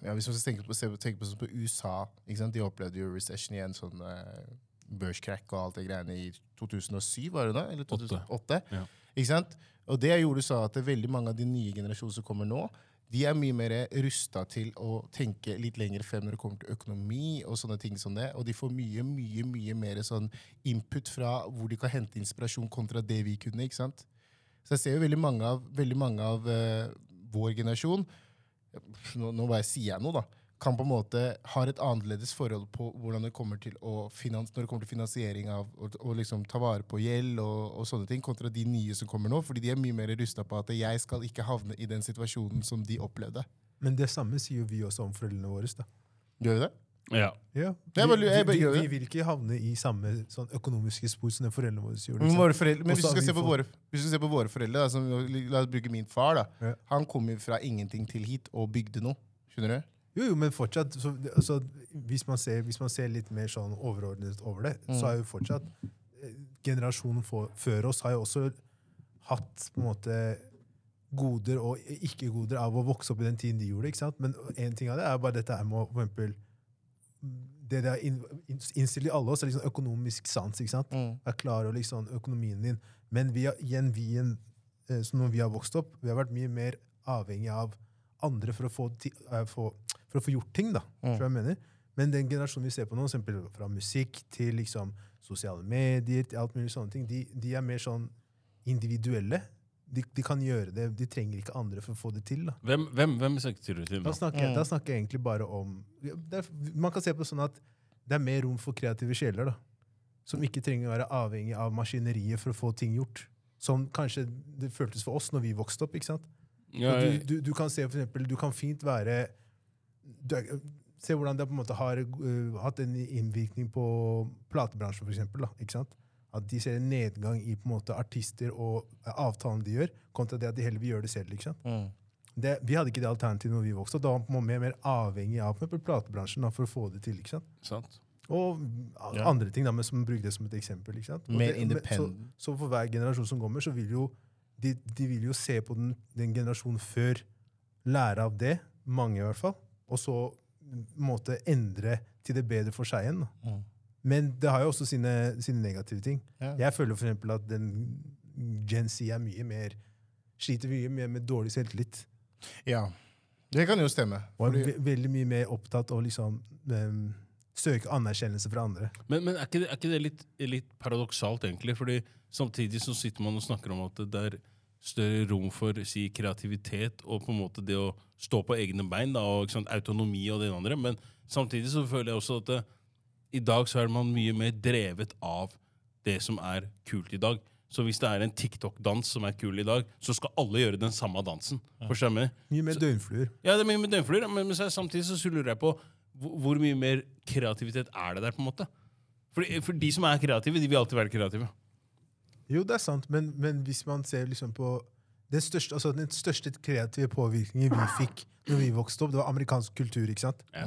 S3: ja, hvis man skal tenke på, se på- tenke på, sånn på USA, ikke sant? de opplevde jo recession i en sånn eh, børskrakk og alt det greiene i 2007, var det da? Eller 2008?
S2: Ja.
S3: Ikke sant? Og det gjorde sa at det er veldig mange av de nye generasjoner som kommer nå, de er mye mer rusta til å tenke litt lenger frem når det kommer til økonomi og sånne ting som det. Og de får mye, mye, mye mer sånn input fra hvor de kan hente inspirasjon kontra det vi kunne, ikke sant? Så jeg ser jo veldig mange av, veldig mange av eh, vår generasjon nå, nå bare sier jeg noe, da. Kan på en måte har et annerledes forhold på hvordan det kommer til å finans, når det kommer til finansiering av og, og liksom ta vare på gjeld og, og sånne ting, kontra de nye som kommer nå. Fordi de er mye mer rusta på at jeg skal ikke havne i den situasjonen som de opplevde.
S4: Men det samme sier jo vi også om foreldrene våre. da.
S3: Gjør vi det?
S2: Ja.
S4: Ja. Vi,
S3: Jeg bare-
S4: vi,
S3: jeg bare
S4: vi,
S3: gjør det.
S4: vi vil ikke havne i samme sånn økonomiske spor som det foreldrene våre gjorde.
S3: Men,
S4: ikke sant?
S3: våre foreldre, men
S4: Mm. Og
S3: hvis,
S4: så
S3: du
S4: har
S3: skal
S4: vi
S3: se på
S4: fått-
S3: våre, hvis du ser på våre foreldre, da, som, la oss bruke min far, da.
S4: Ja.
S3: Han kom jo fra ingenting til hit og bygde noe. Skjønner du?
S4: Jo, jo, men fortsatt, så, altså, hvis, man ser, hvis man ser litt mer sånn overordnet over det, så er jo fortsatt eh, Generasjonen for, før oss har jo også hatt på en måte goder og ikke-goder av å vokse opp i den tiden de gjorde. ikke sant? Men én ting av det er bare dette her med å for eksempel, det det er inn- inn- innstilt i alle oss, er liksom økonomisk sans. ikke sant? Er klar over liksom økonomien din. Men vi har, igjen, vi, en, eh, som når vi har vokst opp, vi har vært mye mer avhengig av andre for å få, ti, eh, få, for å få gjort ting. da, tror jeg jeg mener. Men den generasjonen vi ser på nå, for eksempel fra musikk til liksom sosiale medier, til alt mulig sånne ting, de, de er mer sånn individuelle. De, de kan gjøre det, de trenger ikke andre for å få det til. da.
S2: Hvem, hvem, hvem søkte du til
S4: Da
S2: nå?
S4: snakker, jeg, da snakker jeg egentlig bare om det er, Man kan se på det sånn at det er mer rom for kreative sjeler, da. Som ikke trenger å være avhengig av maskineriet for å få ting gjort. Som kanskje det føltes for oss når vi vokste opp. ikke sant?
S2: Ja,
S4: Og
S2: jeg-
S4: du, du, du kan se for eksempel, du kan fint være du, er- Se hvordan det på en måte har øh, hatt en innvirkning på platebransjen, for eksempel, da, ikke sant? At de ser en nedgang i på en måte artister og eh, avtalene de gjør, kontra det at de heller vil gjøre det selv. ikke sant? Det, vi hadde ikke det alternativet når vi vokste opp. Da var man mer, mer avhengig av for eksempel platebransjen da, for å få det til. ikke sant?
S2: sant?
S4: Og a-
S3: Ja.
S4: andre ting, da, men som bruk det som et eksempel. ikke sant? Og
S3: Mer
S4: det- men-
S3: independent.
S4: Så, så for hver generasjon som kommer, så vil jo de, de vil jo se på den, den generasjonen før, lære av det, mange i hvert fall, og så m, måtte endre til det bedre for seg igjen. da. Men det har jo også sine, sine negative ting.
S3: Mm. Ja.
S4: Jeg føler for eksempel at den Gen Z er mye mer sliter mye mer med dårlig selvtillit.
S3: Ja. Det kan jo stemme.
S4: Og er
S3: Fordi-
S4: ve veldig mye mer opptatt av å liksom, em, søke anerkjennelse fra andre.
S2: Men, men er, ikke det, er ikke det litt, litt paradoksalt, egentlig? Fordi samtidig så sitter man og snakker om at det er større rom for si, kreativitet og på en måte det å stå på egne bein da, og ikke sant, autonomi og det ene og andre. Men samtidig så føler jeg også at eh, i dag så er man mye mer drevet av det som er kult i dag. Så hvis det er en TikTok-dans som er kul i dag, så skal alle gjøre den samme dansen. Forstår du hva jeg mener?
S4: Mye mer døgnfluer.
S2: Ja, det er mye med døgnfluer, men, men så er- samtidig så lurer jeg på hvor, hvor mye mer kreativitet er det der, på en måte? For, for de som er kreative, de vil alltid være kreative.
S4: Jo, det er sant, men, men hvis man ser liksom på den største, altså, den største kreative påvirkningen vi fikk når vi vokste opp, det var amerikansk kultur. ikke sant?
S2: Ja.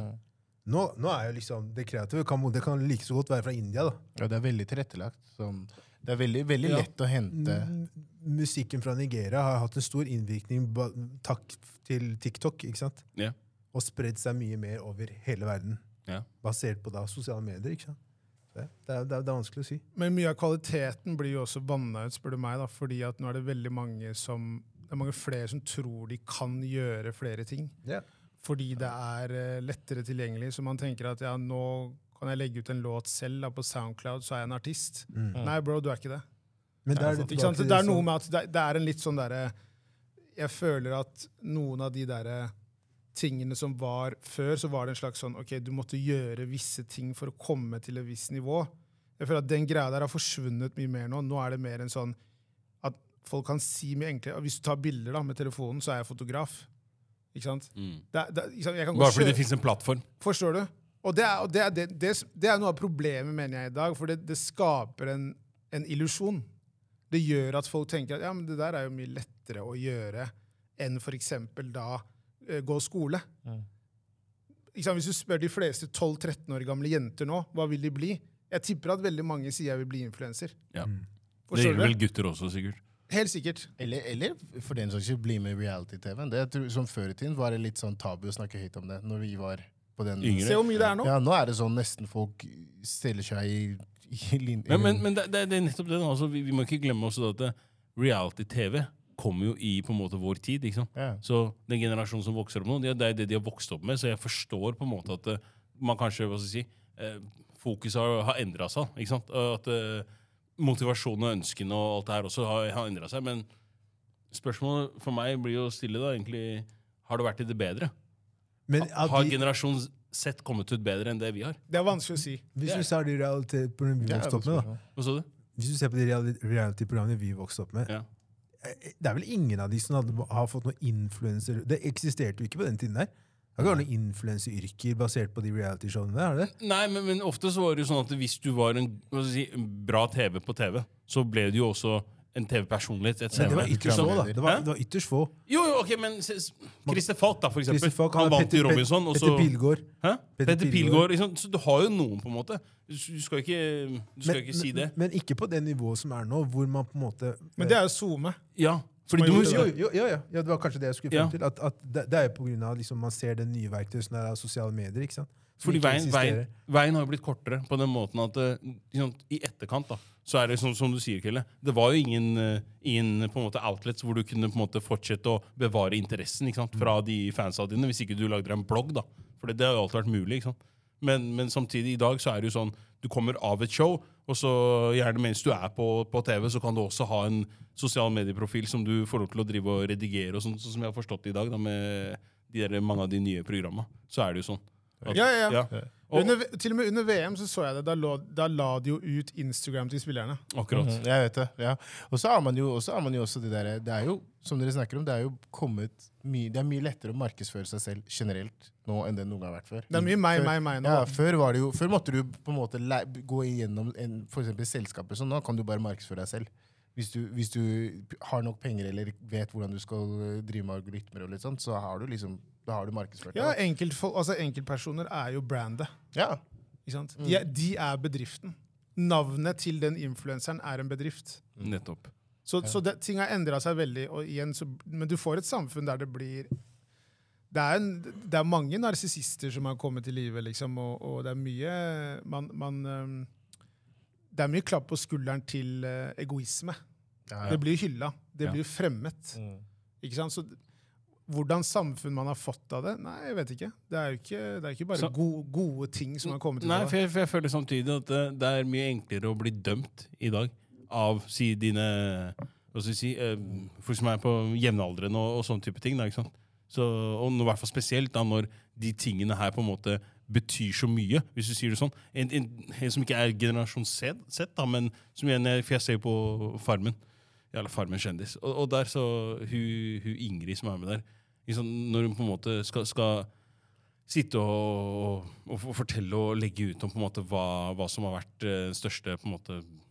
S4: Nå, nå er jo liksom det kreative kan, det kan like så godt være fra India. da.
S3: Ja, det er veldig tilrettelagt. Sånn. Det er veldig, veldig
S2: Ja. Mm.
S3: lett å hente
S4: M- Musikken fra Nigeria har hatt en stor innvirkning ba- takk til TikTok. ikke sant?
S2: Ja.
S4: Og spredd seg mye mer over hele verden.
S2: Ja.
S4: Basert på da sosiale medier. ikke sant? Det, det, er, det, er, det er vanskelig å si.
S1: Men mye av kvaliteten blir jo også vanna ut, spør du meg, da, fordi at nå er det veldig mange som det er mange flere som tror de kan gjøre flere ting. Fordi det er eh, lettere tilgjengelig. Så man tenker at ja, nå kan jeg legge ut en låt selv da, på Soundcloud, så er jeg en artist. Nei, bro, du er ikke det.
S4: Men det er,
S1: Ikke sant? Det er noe med at det, det er en litt sånn derre Jeg føler at noen av de derre tingene som var før, så var det en slags sånn OK, du måtte gjøre visse ting for å komme til et visst nivå. Jeg føler at den greia der har forsvunnet mye mer nå. Nå er det mer en sånn at folk kan si mye enklere Hvis du tar bilder da med telefonen, så er jeg fotograf. Ikke sant? Det, det, ikke sant? Jeg kan
S2: Mm. Bare
S1: godt
S2: fordi det
S1: kjøpe-
S2: fins en plattform.
S1: Forstår du? Og det er, og det er, det, det, det er noe av problemet, mener jeg, i dag. For det, det skaper en, en illusjon. Det gjør at folk tenker at ja, men det der er jo mye lettere å gjøre enn f.eks. da eh, gå skole. Ikke sant? Hvis du spør de fleste 12-13 år gamle jenter nå, hva vil de bli? Jeg tipper at veldig mange sier jeg vil bli influenser.
S2: Ja. Det
S1: Forstår
S2: gjelder vel
S1: du?
S2: gutter også, sikkert.
S1: Helt sikkert.
S3: eller, eller for den saks skyld bli med i reality-TV. Det jeg tror- Som før i tiden var det litt sånn tabu å snakke høyt om det. Når vi var på den
S2: Yngre.
S1: Se hvor mye det er nå.
S3: Ja, nå er det sånn nesten folk stiller seg i, i lin...
S2: Men, men, men det, det, det er nettopp det. da, Altså, vi, vi må ikke glemme også det at det- reality-TV kommer jo i på en måte vår tid. ikke sant?
S3: Ja.
S2: Så den generasjonen som vokser opp nå, det er- det er det de har vokst opp med. Så jeg forstår på en måte at eh, man kanskje hva skal jeg si, eh, Fokuset har, har endra seg. ikke sant? Og At eh, motivasjonen og ønskene og alt det her også har, har endra seg. Men spørsmålet for meg blir jo stille, da, egentlig. Har det vært til det bedre?
S4: Men at
S2: Har
S4: de-
S2: generasjon Z kommet ut bedre enn det vi har?
S1: Det er vanskelig å si.
S4: Hvis du ser de reality-programmene vi
S3: Ja,
S4: vokste opp med, da.
S2: Hva sa du?
S4: Hvis du ser på de reali- reality-programmene vi vokste opp med,
S2: Ja.
S4: eh, det er vel ingen av de som hadde, har fått noen influenser... Det eksisterte jo ikke på den tiden der. Det har ikke vært noen influenseryrker basert på de reality-showene der, har det?
S2: Nei, men, men ofte så var det jo sånn at hvis du var en, hva skal jeg si, en bra TV på TV, så ble du jo også en TV-personlighet.
S4: Men det var ytterst få, da. Det var, det var ytterst få.
S2: Jo, jo, ok, men se- s- Christer Falk, da, for eksempel.
S4: Christer Falk,
S2: han,
S4: er
S2: vant
S4: Petter-
S2: jo Robinson. Og så,
S4: Petter Pilgaard.
S2: Hæ?
S4: Petter
S2: Petter,
S4: Pilgaard.
S2: Pilgaard. ikke sant? Så du har jo noen, på en måte. Du du skal ikke, du skal ikke si det.
S4: Men, men ikke på det nivået som er nå, hvor man på en måte
S1: Men det er jo SoMe.
S2: Ja, fordi
S1: man
S2: du må
S1: gjorde
S2: huske
S4: jo, jo, ja, ja. ja, det var kanskje det jeg skulle
S2: Ja.
S4: frem til. At, at det, det er jo på grunn av liksom, man ser det nye verktøyet som er av sosiale medier. ikke sant? Som
S2: Fordi
S4: ikke
S2: veien, veien,
S4: eksisterer.
S2: veien har jo blitt kortere på den måten at eh, liksom, i etterkant da, så er det sånn som du sier, Kelle, det var jo ingen, eh, ingen på en måte outlets hvor du kunne på en måte fortsette å bevare interessen ikke sant, fra de fansa dine, hvis ikke du lagde deg en blogg. da. For det, det har jo alltid vært mulig. ikke sant? Men, men samtidig, i dag så er det jo sånn, du kommer av et show, og så gjerne mens du er på, på TV, så kan du også ha en sosial medieprofil som du får lov til å drive og redigere, og sånn, sånn som jeg har forstått det i dag da, med de der, mange av de nye programmene. Så er det jo sånn. at-
S1: Ja, ja, ja.
S2: Og-
S1: Under, til og med under VM så så jeg det. Da, lå, da la de jo ut Instagram til spillerne.
S2: Akkurat.
S3: Mm, Jeg vet det, ja. Og så har man jo, og så har man jo også det derre Det er jo, som dere snakker om, det er jo kommet mye Det er mye lettere å markedsføre seg selv generelt nå enn det noen gang har vært før.
S1: Det er mye meg, meg, meg nå.
S3: Ja, før, var det jo, før måtte du på en måte læ- gå igjennom en, for eksempel selskapet, så nå kan du bare markedsføre deg selv. Hvis du, hvis du har nok penger eller vet hvordan du skal eh, drive med algoritmer, og litt sånt, så har du liksom, da har du markedsført
S1: Ja,
S3: deg.
S1: enkeltfol- altså Enkeltpersoner er jo brandet.
S3: da. Ja.
S1: Ikke sant? De, er, de er bedriften. Navnet til den influenseren er en bedrift.
S2: Nettopp.
S1: Så, så det, ting har endra seg veldig. Og igjen, så, men du får et samfunn der det blir Det er, en, det er mange narsissister som har kommet til live, liksom, og, og det er mye man, man øhm, Det er mye klapp på skulderen til øh, egoisme.
S3: Ja, ja.
S1: Det blir hylla. Det
S2: Ja. Mm.
S1: blir fremmet. Ikke sant? Så d- hvordan samfunn man har fått av det? Nei, jeg vet ikke. Det er jo ikke, det er ikke bare
S2: Så-
S1: gode, gode ting som har kommet ut
S2: Nei,
S1: av
S2: for
S1: det.
S2: jeg, for jeg føler samtidig at eh, det, det er mye enklere å bli dømt i dag av si dine hva skal jeg si, eh, folk som er på jevnaldrende og, og sånne type ting. Da, ikke sant? Så, og nå, i hvert fall spesielt da, når de tingene her på en måte betyr så mye, hvis du sier det sånn. En, en, en som ikke er generasjon Z, Z da, men som igjen, er- for jeg ser jo på Farmen. Jævla Farmen kjendis. Og, og der så hun, hun Ingrid som er med der, ikke sant, når hun på en måte skal, skal sitte og, og, og fortelle og legge ut om på en måte hva, hva som har vært eh, den største på en måte, hva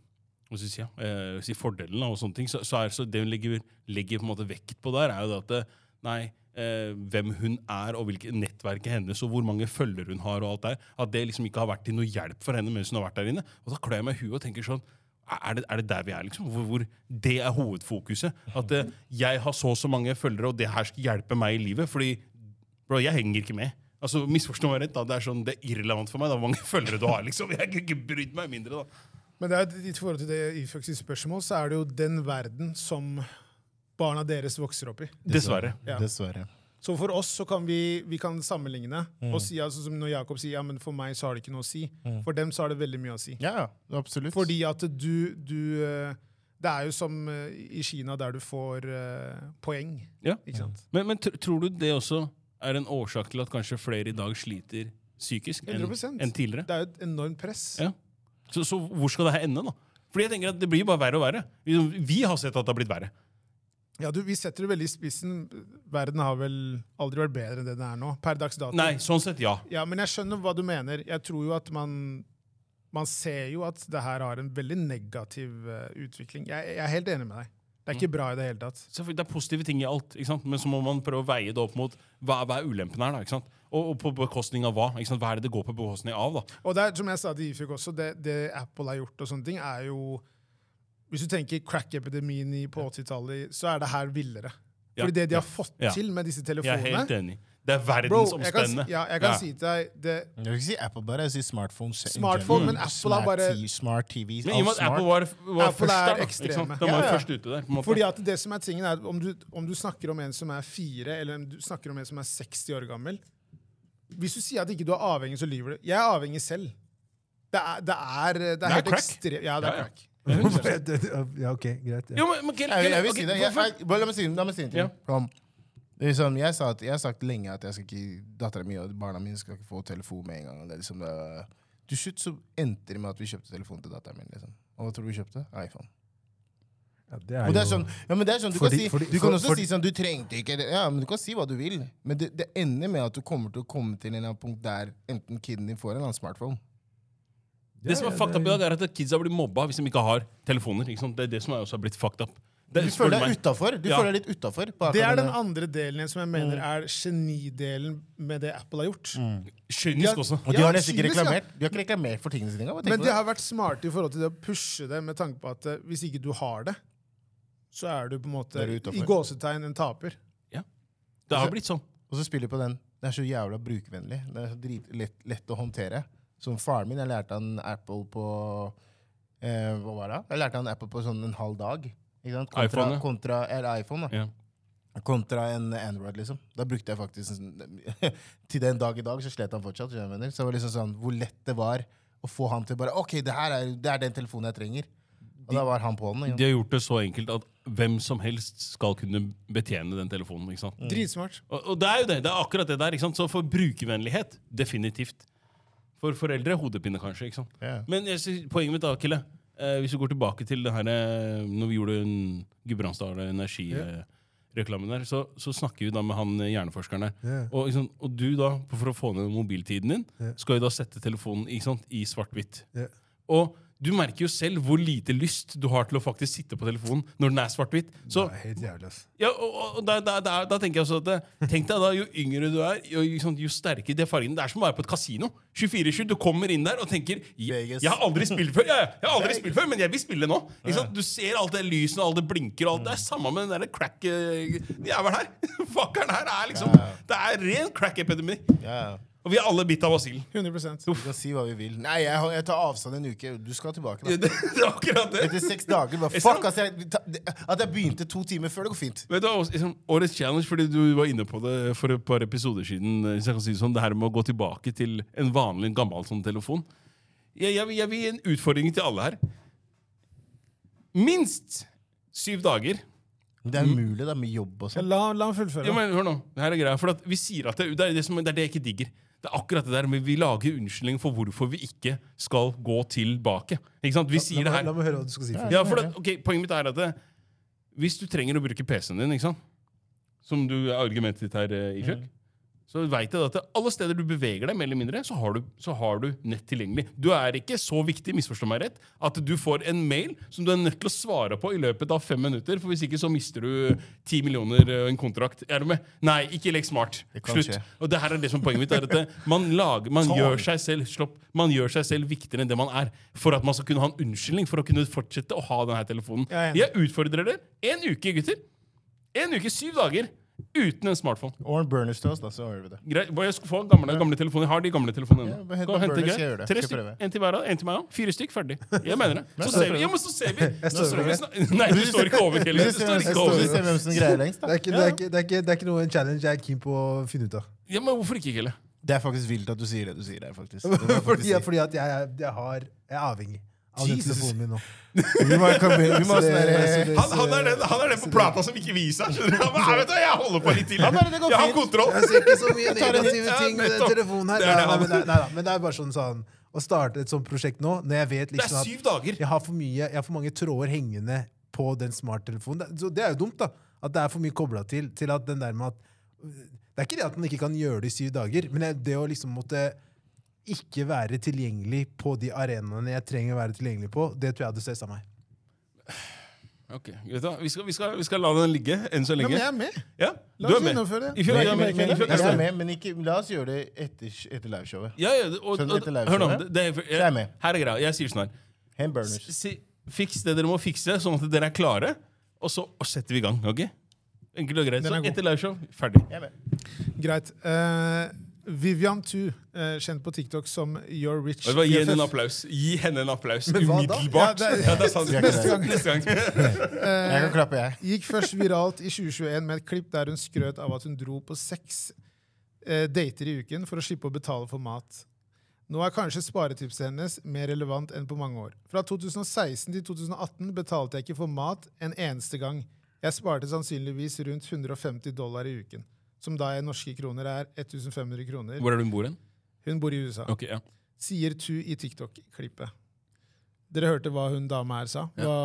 S2: hva skal jeg si, ja, eh, si fordelen da, og sånne ting, så, så er så det hun legger, legger på en måte vekt på der, er jo det at eh, nei, eh, hvem hun er, og hvilket nettverk er hennes, og hvor mange følger hun har, og alt der, at det liksom ikke har vært til noe hjelp for henne mens hun har vært der inne. Og da klør jeg meg i huet og tenker sånn, er det, er det der vi er, liksom? Hvor, hvor det er hovedfokuset? At eh, jeg har så og så mange følgere, og det her skal hjelpe meg i livet? Fordi Bro, jeg henger ikke med. Altså, Misforstå meg rett, da. Det er sånn, det er irrelevant for meg da, hvor mange følgere du har. liksom. Jeg kan ikke brydd meg mindre, da.
S1: Men det er, jo- i forhold til det i faktisk spørsmål, så er det jo den verden som barna deres vokser opp i.
S2: Dessverre.
S1: Ja.
S3: Dessverre.
S1: Så for oss så kan vi, vi kan sammenligne.
S2: Mm.
S1: og si, altså, som Når Jakob sier ja, men for meg så har det ikke noe å si, for dem så har det veldig mye å si.
S3: Ja, ja, absolutt.
S1: Fordi at du, du eh, Det er jo som eh, i Kina, der du får eh, poeng.
S2: Ja.
S1: Ikke sant?
S2: Men, men tr tror du det også er en årsak til at kanskje flere i dag sliter psykisk enn
S1: 100%.
S2: enn tidligere?
S1: Det er jo et enormt press.
S2: Ja. Så, så hvor skal det her ende, da? Fordi jeg tenker at Det blir bare verre og verre. Vi, vi har sett at det har blitt verre.
S1: Ja, du, Vi setter det veldig i spissen. Verden har vel aldri vært bedre enn det den er nå. per dags dato.
S2: Nei, sånn sett, ja.
S1: Ja, Men jeg skjønner hva du mener. Jeg tror jo at man man ser jo at det her har en veldig negativ eh, utvikling. Jeg, jeg er helt enig med deg. Det er ikke
S2: Mm.
S1: bra i det hele tatt.
S2: Selvfølgelig, Det er positive ting i alt, ikke sant? men så må man prøve å veie det opp mot hva, hva er ulempen her. da, ikke sant? Og, og på bekostning av hva? ikke sant? Hva er det det går på bekostning av? da?
S1: Og det er, som jeg sa til Ifyk også, det, det Apple har gjort og sånne ting, er jo Hvis du tenker crack-epidemien i- på 80-tallet, så er det her villere.
S2: Ja,
S1: Fordi det de
S2: ja,
S1: har fått
S2: ja.
S1: til med disse
S2: Jeg er helt
S1: telefonene
S2: enig. Det er
S1: Bro, jeg kan,
S2: verdensomspennende.
S1: si- ja, jeg kan
S2: Ja.
S1: si til deg det,
S3: Jeg vil ikke si Apple bare, jeg sier smartphone. se- in
S1: Smartphone,
S3: general.
S1: men Apple er bare-
S3: Smart, smart TVs,
S2: Men i og
S3: alt
S2: med at
S3: smart.
S2: Apple var, var
S1: Apple er
S2: først der, da, ikke
S1: ekstreme.
S2: sant? De var
S1: Ja,
S2: jo
S1: ja.
S2: først ute der. på en måte.
S1: Fordi at det som er tingen er at om du, om du snakker om en som er fire, eller om du snakker om en som er 60 år gammel Hvis du sier at ikke du er avhengig, så lyver du. Jeg er avhengig selv. Det er, det er, det er,
S2: er
S1: helt
S2: crack.
S1: ekstre- Ja, det
S2: Ja,
S1: er
S2: ja.
S1: crack.
S4: ja, OK, greit. Ja.
S2: Jo, men, men,
S3: Jeg vil, jeg vil
S2: ok,
S3: si det. Jeg,
S2: hvorfor-
S3: jeg, bare la meg si la meg si en ting.
S2: Ja.
S3: Kom. Det er liksom, jeg, sa at, jeg har sagt lenge at jeg skal ikke, datteren min og barna mine skal ikke få telefon med en gang. og Det er liksom, det, til slutt så endte det med at vi kjøpte telefon til datteren min. liksom. Og hva tror du vi kjøpte? iPhone.
S4: Ja, det er
S3: Og det er
S4: jo-
S3: sånn, ja, men det er sånn, Du
S4: Fordi-
S3: kan, si,
S4: fordi-
S3: du kan
S4: for-
S3: også
S4: for-
S3: si sånn, du trengte ikke det. Ja, men du kan si hva du vil. Men det, det ender med at du kommer til å komme til en eller annen punkt der enten kiden din får en annen smartphone.
S2: Det som er fucked up i dag, er at kidsa blir mobba hvis de ikke har telefoner. ikke sant? Det er det som er også har blitt fucked up. Det,
S3: Du
S2: spør
S3: føler
S2: meg.
S3: deg utafor. Du
S2: Ja.
S3: føler deg litt utafor.
S1: Det er den andre delen igjen som jeg mener er genidelen med det Apple har gjort.
S2: Kynisk også.
S3: Og de
S1: Ja,
S3: har nesten ikke
S1: kynisk, ja.
S3: reklamert De har ikke reklamert for tingene sine engang. hva tenker
S1: Men
S3: du?
S1: de har vært smarte i forhold til det å pushe det med tanke på at eh, hvis ikke du har det, så er du på en
S3: Da
S1: måte
S3: er du utenfor.
S1: i gåsetegn en taper.
S2: Det har blitt sånn.
S3: Og så spiller de på den. Den er så jævla brukervennlig. Den er så drit, lett, lett å håndtere. Som faren min, jeg lærte han Apple på eh, Hva var det? Jeg lærte han Apple på sånn en halv dag. Ikke sant? Kontra,
S2: iPhone, ja.
S3: kontra, eller iPhone, da.
S2: Ja.
S3: Kontra en Android, liksom. Da brukte jeg faktisk en- Til den dag i dag så slet han fortsatt. skjønner du hva jeg mener? Så det var liksom sånn hvor lett det var å få han til bare OK, det her er, det er den telefonen jeg trenger. Og da var han på den. ikke sant?
S2: De har gjort det så enkelt at hvem som helst skal kunne betjene den telefonen. ikke sant?
S1: Dritsmart.
S2: Og, og det er jo det. Det er akkurat det der. ikke sant? Så for brukervennlighet, definitivt. For foreldre, hodepine kanskje. ikke sant?
S3: Ja.
S2: Men jeg, sy- poenget mitt da, Kille, eh, hvis vi går tilbake til det her eh, når vi gjorde en Gudbrandsdal Energi-reklamen der, så, så snakker vi da med han eh, hjerneforskeren der.
S4: Ja.
S2: Og, ikke sant? og du da, for å få ned mobiltiden din,
S4: Ja.
S2: skal jo da sette telefonen ikke sant? i svart-hvitt.
S4: Ja.
S2: Og du merker jo selv hvor lite lyst du har til å faktisk sitte på telefonen når den er svart-hvitt. Så
S4: Det er helt jævlig, altså. ass.
S2: ja, og, og- og da, da, da, da tenker jeg også at det- Tenk deg da, jo yngre du er, jo, jo sånn- jo sterkere de fargene. Det er som å være på et kasino. 24-7, Du kommer inn der og tenker jeg,
S3: Vegas.
S2: jeg har aldri spilt før, jeg, jeg har aldri spilt før, men jeg vil spille nå. Ikke sant? Du ser alt det lyset, og alt det blinker, og alt det er samme med den der crack eh, jævelen her. Fuckeren her er liksom Det er ren crack-epidemi.
S3: Ja.
S2: Og vi er alle bitt av basillen.
S1: 100
S3: Vi kan si hva vi vil. Nei, jeg, jeg tar avstand en uke. Du skal tilbake. Da.
S2: Det, det er akkurat det.
S3: Etter seks dager bare,
S2: Jeg
S3: Fuck,
S2: ser-
S3: altså, jeg, ta- det- at jeg begynte to timer før, det går fint.
S2: Vet du, også, liksom, Årets challenge, fordi du var inne på det for et par episoder siden. eh, Hvis jeg kan si det sånn, det her med å gå tilbake til en vanlig, gammel sånn telefon. Jeg, jeg, vil- jeg vil gi en utfordring til alle her. Minst syv dager.
S3: Det er umulig da, med jobb og sånn.
S1: La, la ham fullføre.
S2: Ja, men Hør nå, det her er greia. For at vi sier at det, det, er det, som, det er det jeg ikke digger. Det er akkurat det der, men Vi lager unnskyldning for hvorfor vi ikke skal gå tilbake. Ikke sant? Vi sier
S4: La
S2: det
S4: meg, la
S2: her.
S4: meg høre hva du skal si først.
S2: Ja, for at, ok, Poenget mitt er at det,
S3: Mm.
S2: hvis du trenger å bruke PC-en din, ikke sant? som du er argumentet ditt her, eh, Ifjøk så vet jeg da at alle steder du beveger deg, mer eller mindre, så har, du, så har du nett tilgjengelig. Du er ikke så viktig, misforstå meg rett, at du får en mail som du er nødt til å svare på i løpet av fem minutter, for hvis ikke så mister du ti millioner eh, og en kontrakt. Er du med? Nei, ikke legg smart.
S3: Det kan
S2: Slutt.
S3: skje.
S2: Og det her er det som er poenget mitt, er at det- man, lager, man, gjør seg selv, slopp, man gjør seg selv viktigere enn det man er, for at man skal kunne ha en unnskyldning for å kunne fortsette å ha denne telefonen.
S1: Jeg er enig.
S2: Jeg utfordrer dere. En uke, gutter. En uke, syv dager, uten en smartphone.
S3: Or burners til oss, da, så gjør vi det.
S2: Greit, bare jeg skal få gamle, gamle telefoner. Jeg har de gamle telefonene
S3: Ja,
S2: ennå.
S3: bare hent
S2: Gå og
S3: på
S2: hente
S3: Burnley,
S2: greit.
S3: skal jeg gjøre
S2: Tre
S3: det. Skal jeg
S2: stykk.
S3: prøve.
S2: En til hver av, en til meg òg. Fire stykk, ferdig. Jeg mener det. Så ser vi. Jo, men så ser vi. Så
S4: står
S2: ser vi. snak- Nei, du står ikke over, Kelly. Du står ikke
S3: Vi
S2: over.
S3: ser hvem som greier lengst,
S4: Det
S3: da.
S4: er, ikke, det, er ikke, det, er ikke, det er ikke noe en challenge jeg er keen på å finne ut av.
S2: Ja, men hvorfor ikke, Kelly?
S3: Det er faktisk vilt at du sier det du sier der, faktisk. Det må jeg faktisk
S4: Fordi,
S3: si.
S4: fordi at jeg, er- jeg, har, jeg er avhengig av den
S3: Jesus.
S4: telefonen min nå.
S3: Vi må komme inn. Vi må ha sånn der-
S2: Han, han, er den, han er den på plata som ikke viser seg. skjønner du? Han bare, Jeg vet det, jeg holder på litt til.
S3: bare, det går
S2: Jeg har
S3: fint.
S2: kontroll.
S4: Jeg ser ikke så mye
S2: tar en
S4: negative
S2: hit. Ja,
S4: ting med den
S2: nettopp.
S4: telefonen her.
S2: Det er det
S4: Nei, nei,
S2: han-
S4: men, nei, nei, nei, men det er bare sånn sånn Å starte et sånt prosjekt nå, når jeg vet
S2: Det er
S4: liksom at
S2: syv dager.
S4: jeg har for mye Jeg har for mange tråder hengende på den smarttelefonen. Det, så det er jo dumt, da. At det er for mye kobla til. Til at den der med at Det er ikke det at man ikke kan gjøre det i syv dager, men det- det å liksom måtte ikke være tilgjengelig på de arenaene jeg trenger å være tilgjengelig på, det tror jeg hadde stressa meg.
S2: Ok, vet du hva? Vi skal, vi, skal, vi skal la den ligge enn så
S1: Ja,
S2: lenge.
S1: men jeg er med.
S2: Ja,
S1: La
S2: du
S1: oss
S2: er med.
S1: gjennomføre det.
S2: I fjor,
S3: Nei,
S2: ja,
S3: ikke
S2: men-
S3: med,
S2: i
S3: ikke
S2: fjor-
S3: med. Jeg er med, men ikke, la oss gjøre det etter, etter liveshowet.
S2: Ja, ja, og,
S3: Sånn
S2: og,
S3: etter liveshowet.
S2: hør nå, det, det, er-
S3: er jeg med.
S2: her er greia. Jeg sier sånn her.
S3: Hand burners.
S2: si, fiks det dere må fikse, sånn at dere er klare. Og så og setter vi i gang. ok? Enkelt og greit.
S1: Den
S2: Så
S1: er god.
S2: etter liveshow, ferdig.
S3: Jeg er med.
S1: Greit. Eh, Vivian Tu, eh, kjent på TikTok som You're Rich.
S2: Og bare Gi henne en
S1: BFF.
S2: applaus. Gi henne en applaus
S4: Men hva da?
S2: umiddelbart.
S1: Ja,
S2: Ja,
S1: det
S2: det,
S1: er-
S2: er sant.
S3: Vi er ikke
S2: Neste gang. Neste gang.
S3: Jeg kan klappe, jeg.
S1: Gikk først viralt i 2021 med et klipp der hun skrøt av at hun dro på seks eh, dater i uken for å slippe å betale for mat. Nå er kanskje sparetipset hennes mer relevant enn på mange år. Fra 2016 til 2018 betalte jeg ikke for mat en eneste gang. Jeg sparte sannsynligvis rundt 150 dollar i uken, som da i norske kroner er 1500 kroner.
S2: Hvor er det hun bor hen?
S1: Hun bor i USA.
S2: Ok, ja.
S1: sier Tu i TikTok-klippet. Dere hørte hva hun dama her sa. Hva,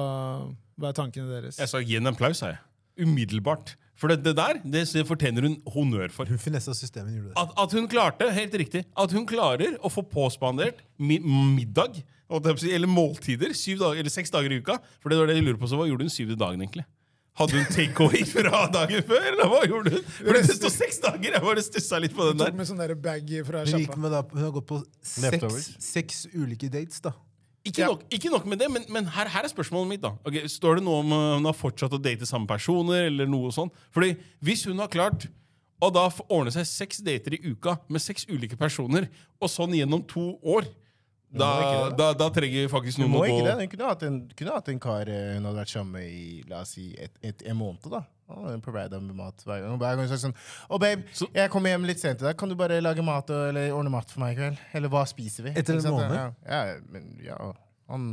S1: hva er tankene deres?
S2: Jeg sa gi henne en applaus, sa jeg. Umiddelbart. For det, det der det s- fortjener hun honnør for.
S4: Hun finessa systemet gjorde
S1: Ah,
S4: det.
S2: At, at hun klarte, helt riktig, at hun klarer å få påspandert mi middag, holdt jeg på å si, eller måltider, syv dager, eller seks dager i uka. For det var det jeg lurer på, så hva gjorde hun syvde dagen egentlig? Hadde hun takeaway fra dagen før? eller hva gjorde hun? For det står seks dager! Jeg bare stussa litt på den
S1: Tok
S2: der.
S1: med sånn der bag fra
S4: Hun, gikk
S1: sjappa.
S4: med da, hun har gått på seks,
S3: Leftovers.
S4: seks ulike dates, da.
S2: Ikke, nok, ikke nok med det, men, men her, her er spørsmålet mitt. da. Ok, står det noe om øh, hun har fortsatt å date samme personer? eller noe sånt? Fordi hvis hun har klart å da få ordne seg seks dater i uka med seks ulike personer, og sånn gjennom to år da,
S3: ikke det,
S2: da, da trenger vi faktisk
S3: Hun
S2: noen
S3: må
S2: å gå
S3: ikke det. Hun kunne hatt en, kunne hatt en kar eh, hun hadde vært sammen med i la oss si, et, et, en måned. da. Og Hun provider ham med mat hver gang. Og Hver gang hun sier sånn Å, babe,
S2: Så-
S3: jeg kommer hjem litt sent i dag. Kan du bare lage mat og, eller ordne mat for meg i kveld? Eller hva spiser vi?
S4: Etter en
S3: Ikke sant?
S4: måned?
S3: Ja, ja, men ja, han...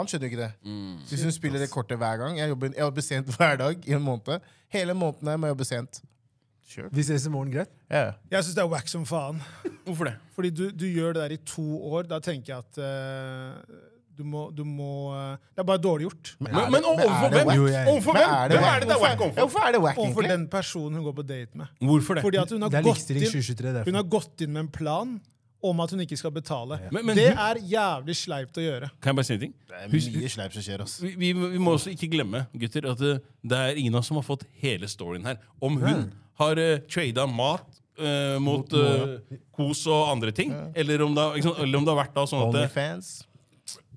S3: Han skjønner jo ikke det. Hvis hun spiller det kortet hver gang Jeg jobber, jeg jobber sent hver dag i en måned. Hele måneden her må jeg jobbe sent. Sure.
S4: Vi ses i morgen, greit?
S3: Ja, ja.
S1: Jeg syns det er wack som faen.
S2: Hvorfor det?
S1: Fordi du, du gjør det der i to år. Da tenker jeg at eh, du må, du må eh, Det er bare dårlig gjort.
S3: Men,
S2: Men, men
S3: er
S2: overfor
S3: det
S2: hvem?
S3: whack?
S4: Jo, jeg-
S2: Overfor
S3: Men
S2: hvem?
S3: er det
S2: Hvem
S3: whack?
S2: er det det er whack
S3: Hvorfor-
S2: overfor?
S3: ja, Hvorfor er det wack,
S1: Overfor
S3: egentlig?
S1: den personen hun går på date med.
S2: Hvorfor det?
S1: Fordi at hun
S4: Det
S1: har,
S4: er
S1: gått
S4: likestilling
S1: inn,
S4: 2023. det er
S1: hun
S4: for-
S1: har gått inn med en plan om at hun ikke skal betale.
S2: Men- men
S1: det
S2: hun-
S1: er jævlig sleipt å gjøre.
S2: Kan jeg bare si en ting?
S3: Det er mye sleip som skjer, ass.
S2: Vi, vi, vi må også ikke glemme gutter, at eh, det er ingen av oss som har fått hele storyen her. Om hun har uh, trada mat eh, mot eh, kos og andre ting, eller, om det, har- ikke sant, eller om det har vært da sånn at eh,
S3: Onlyfans.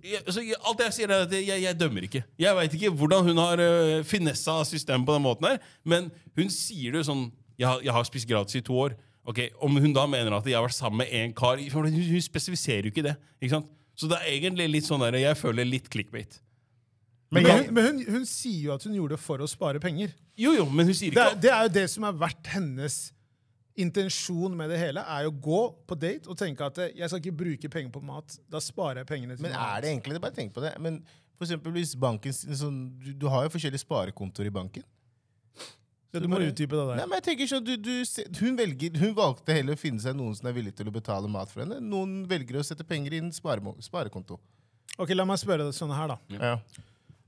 S2: jeg, altså, jeg, Alt jeg sier, er at jeg, jeg dømmer ikke. Jeg veit ikke hvordan hun har eh, finessa systemet på den måten her, men hun sier det jo sånn jeg, har- 'Jeg har spist gratis i to år'. Ok, Om hun da mener at jeg har vært sammen med én kar for Hun hun spesifiserer jo ikke det. ikke sant? Så det er egentlig litt sånn der, jeg føler litt clickbait.
S1: Men,
S3: jeg-
S1: hun, men hun, hun sier jo at hun gjorde det for å spare penger.
S2: Jo, jo, men hun sier
S1: Det
S2: ikke
S1: er, det er jo det som har vært hennes intensjon med det hele, er jo å gå på date og tenke at eh, jeg skal ikke bruke penger på mat. Da sparer jeg pengene til
S3: Men er det egentlig det? Bare tenk på det. Men for eksempel hvis banken sånn, du, du har jo forskjellige sparekontoer i banken.
S1: Ja, du må utdype det der.
S3: Nei, men jeg tenker sånn, du, du, se- hun, velger, hun valgte heller å finne seg noen som er villig til å betale mat for henne. Noen velger å sette penger i en sparemo- sparekonto.
S1: Ok, La meg spørre deg sånn her, da.
S3: Ja.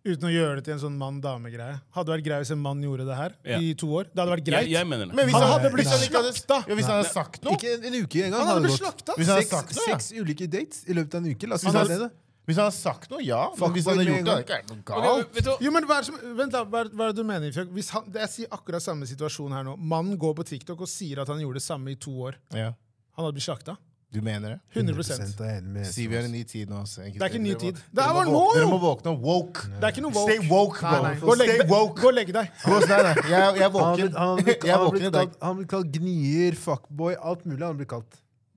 S1: Uten å gjøre det til en sånn mann-dame-greie. Hadde vært greit hvis en mann gjorde det her
S2: Ja.
S1: i to år. Det hadde vært greit.
S2: Jeg, jeg mener det.
S3: Men hvis
S1: Han
S3: han
S1: hadde blitt
S3: hvis han ikke hadde-
S1: slakta.
S3: Ja, hvis han hadde sagt noe
S4: Ikke en, en uke engang.
S1: Han hadde blitt
S4: gått.
S1: slakta.
S3: Hvis han hadde
S4: seks,
S3: sagt noe, ja.
S4: seks ulike dates i løpet av en uke. La oss
S3: Hvis
S4: si
S3: han
S4: det.
S3: hadde,
S4: da.
S3: hvis han hadde sagt noe, ja. Men
S4: Fuckboy
S3: hvis han hadde
S4: med
S3: gjort
S4: en
S3: det,
S4: gang.
S3: hadde det ikke
S2: Ok,
S3: vært noe galt.
S2: vet du hva?
S1: Jo, men hva er, det som, vent da, hva, er, hva er det du mener? Ifjok? Hvis han, det- jeg sier akkurat samme situasjon her nå. Mannen går på TikTok og sier at han gjorde det samme i to år.
S3: Ja.
S1: Han hadde blitt slakta.
S3: Du mener det?
S1: 100
S4: er jeg enig med.
S3: Siv, vi har en ny tid nå. ass.
S1: Det er ikke en ny tid. Det er
S3: Dere må
S1: bare
S3: våk-
S1: nå, jo!
S3: Dere må våkne. Woke.
S1: Det er ikke noe woke.
S3: Stay woke,
S1: Nei, nei.
S3: bro.
S1: Gå og legg
S3: Stay
S1: deg.
S3: woke.
S1: Gå og legg deg.
S3: Gå og- Nei, nei. Jeg, jeg er
S4: Han har
S3: våken.
S4: blitt- han har blitt-
S3: Jeg
S4: han
S3: er
S4: har
S3: våken i
S4: blitt
S3: dag.
S4: kalt- han har blitt kalt gnier, fuckboy, alt mulig. han har blitt kalt.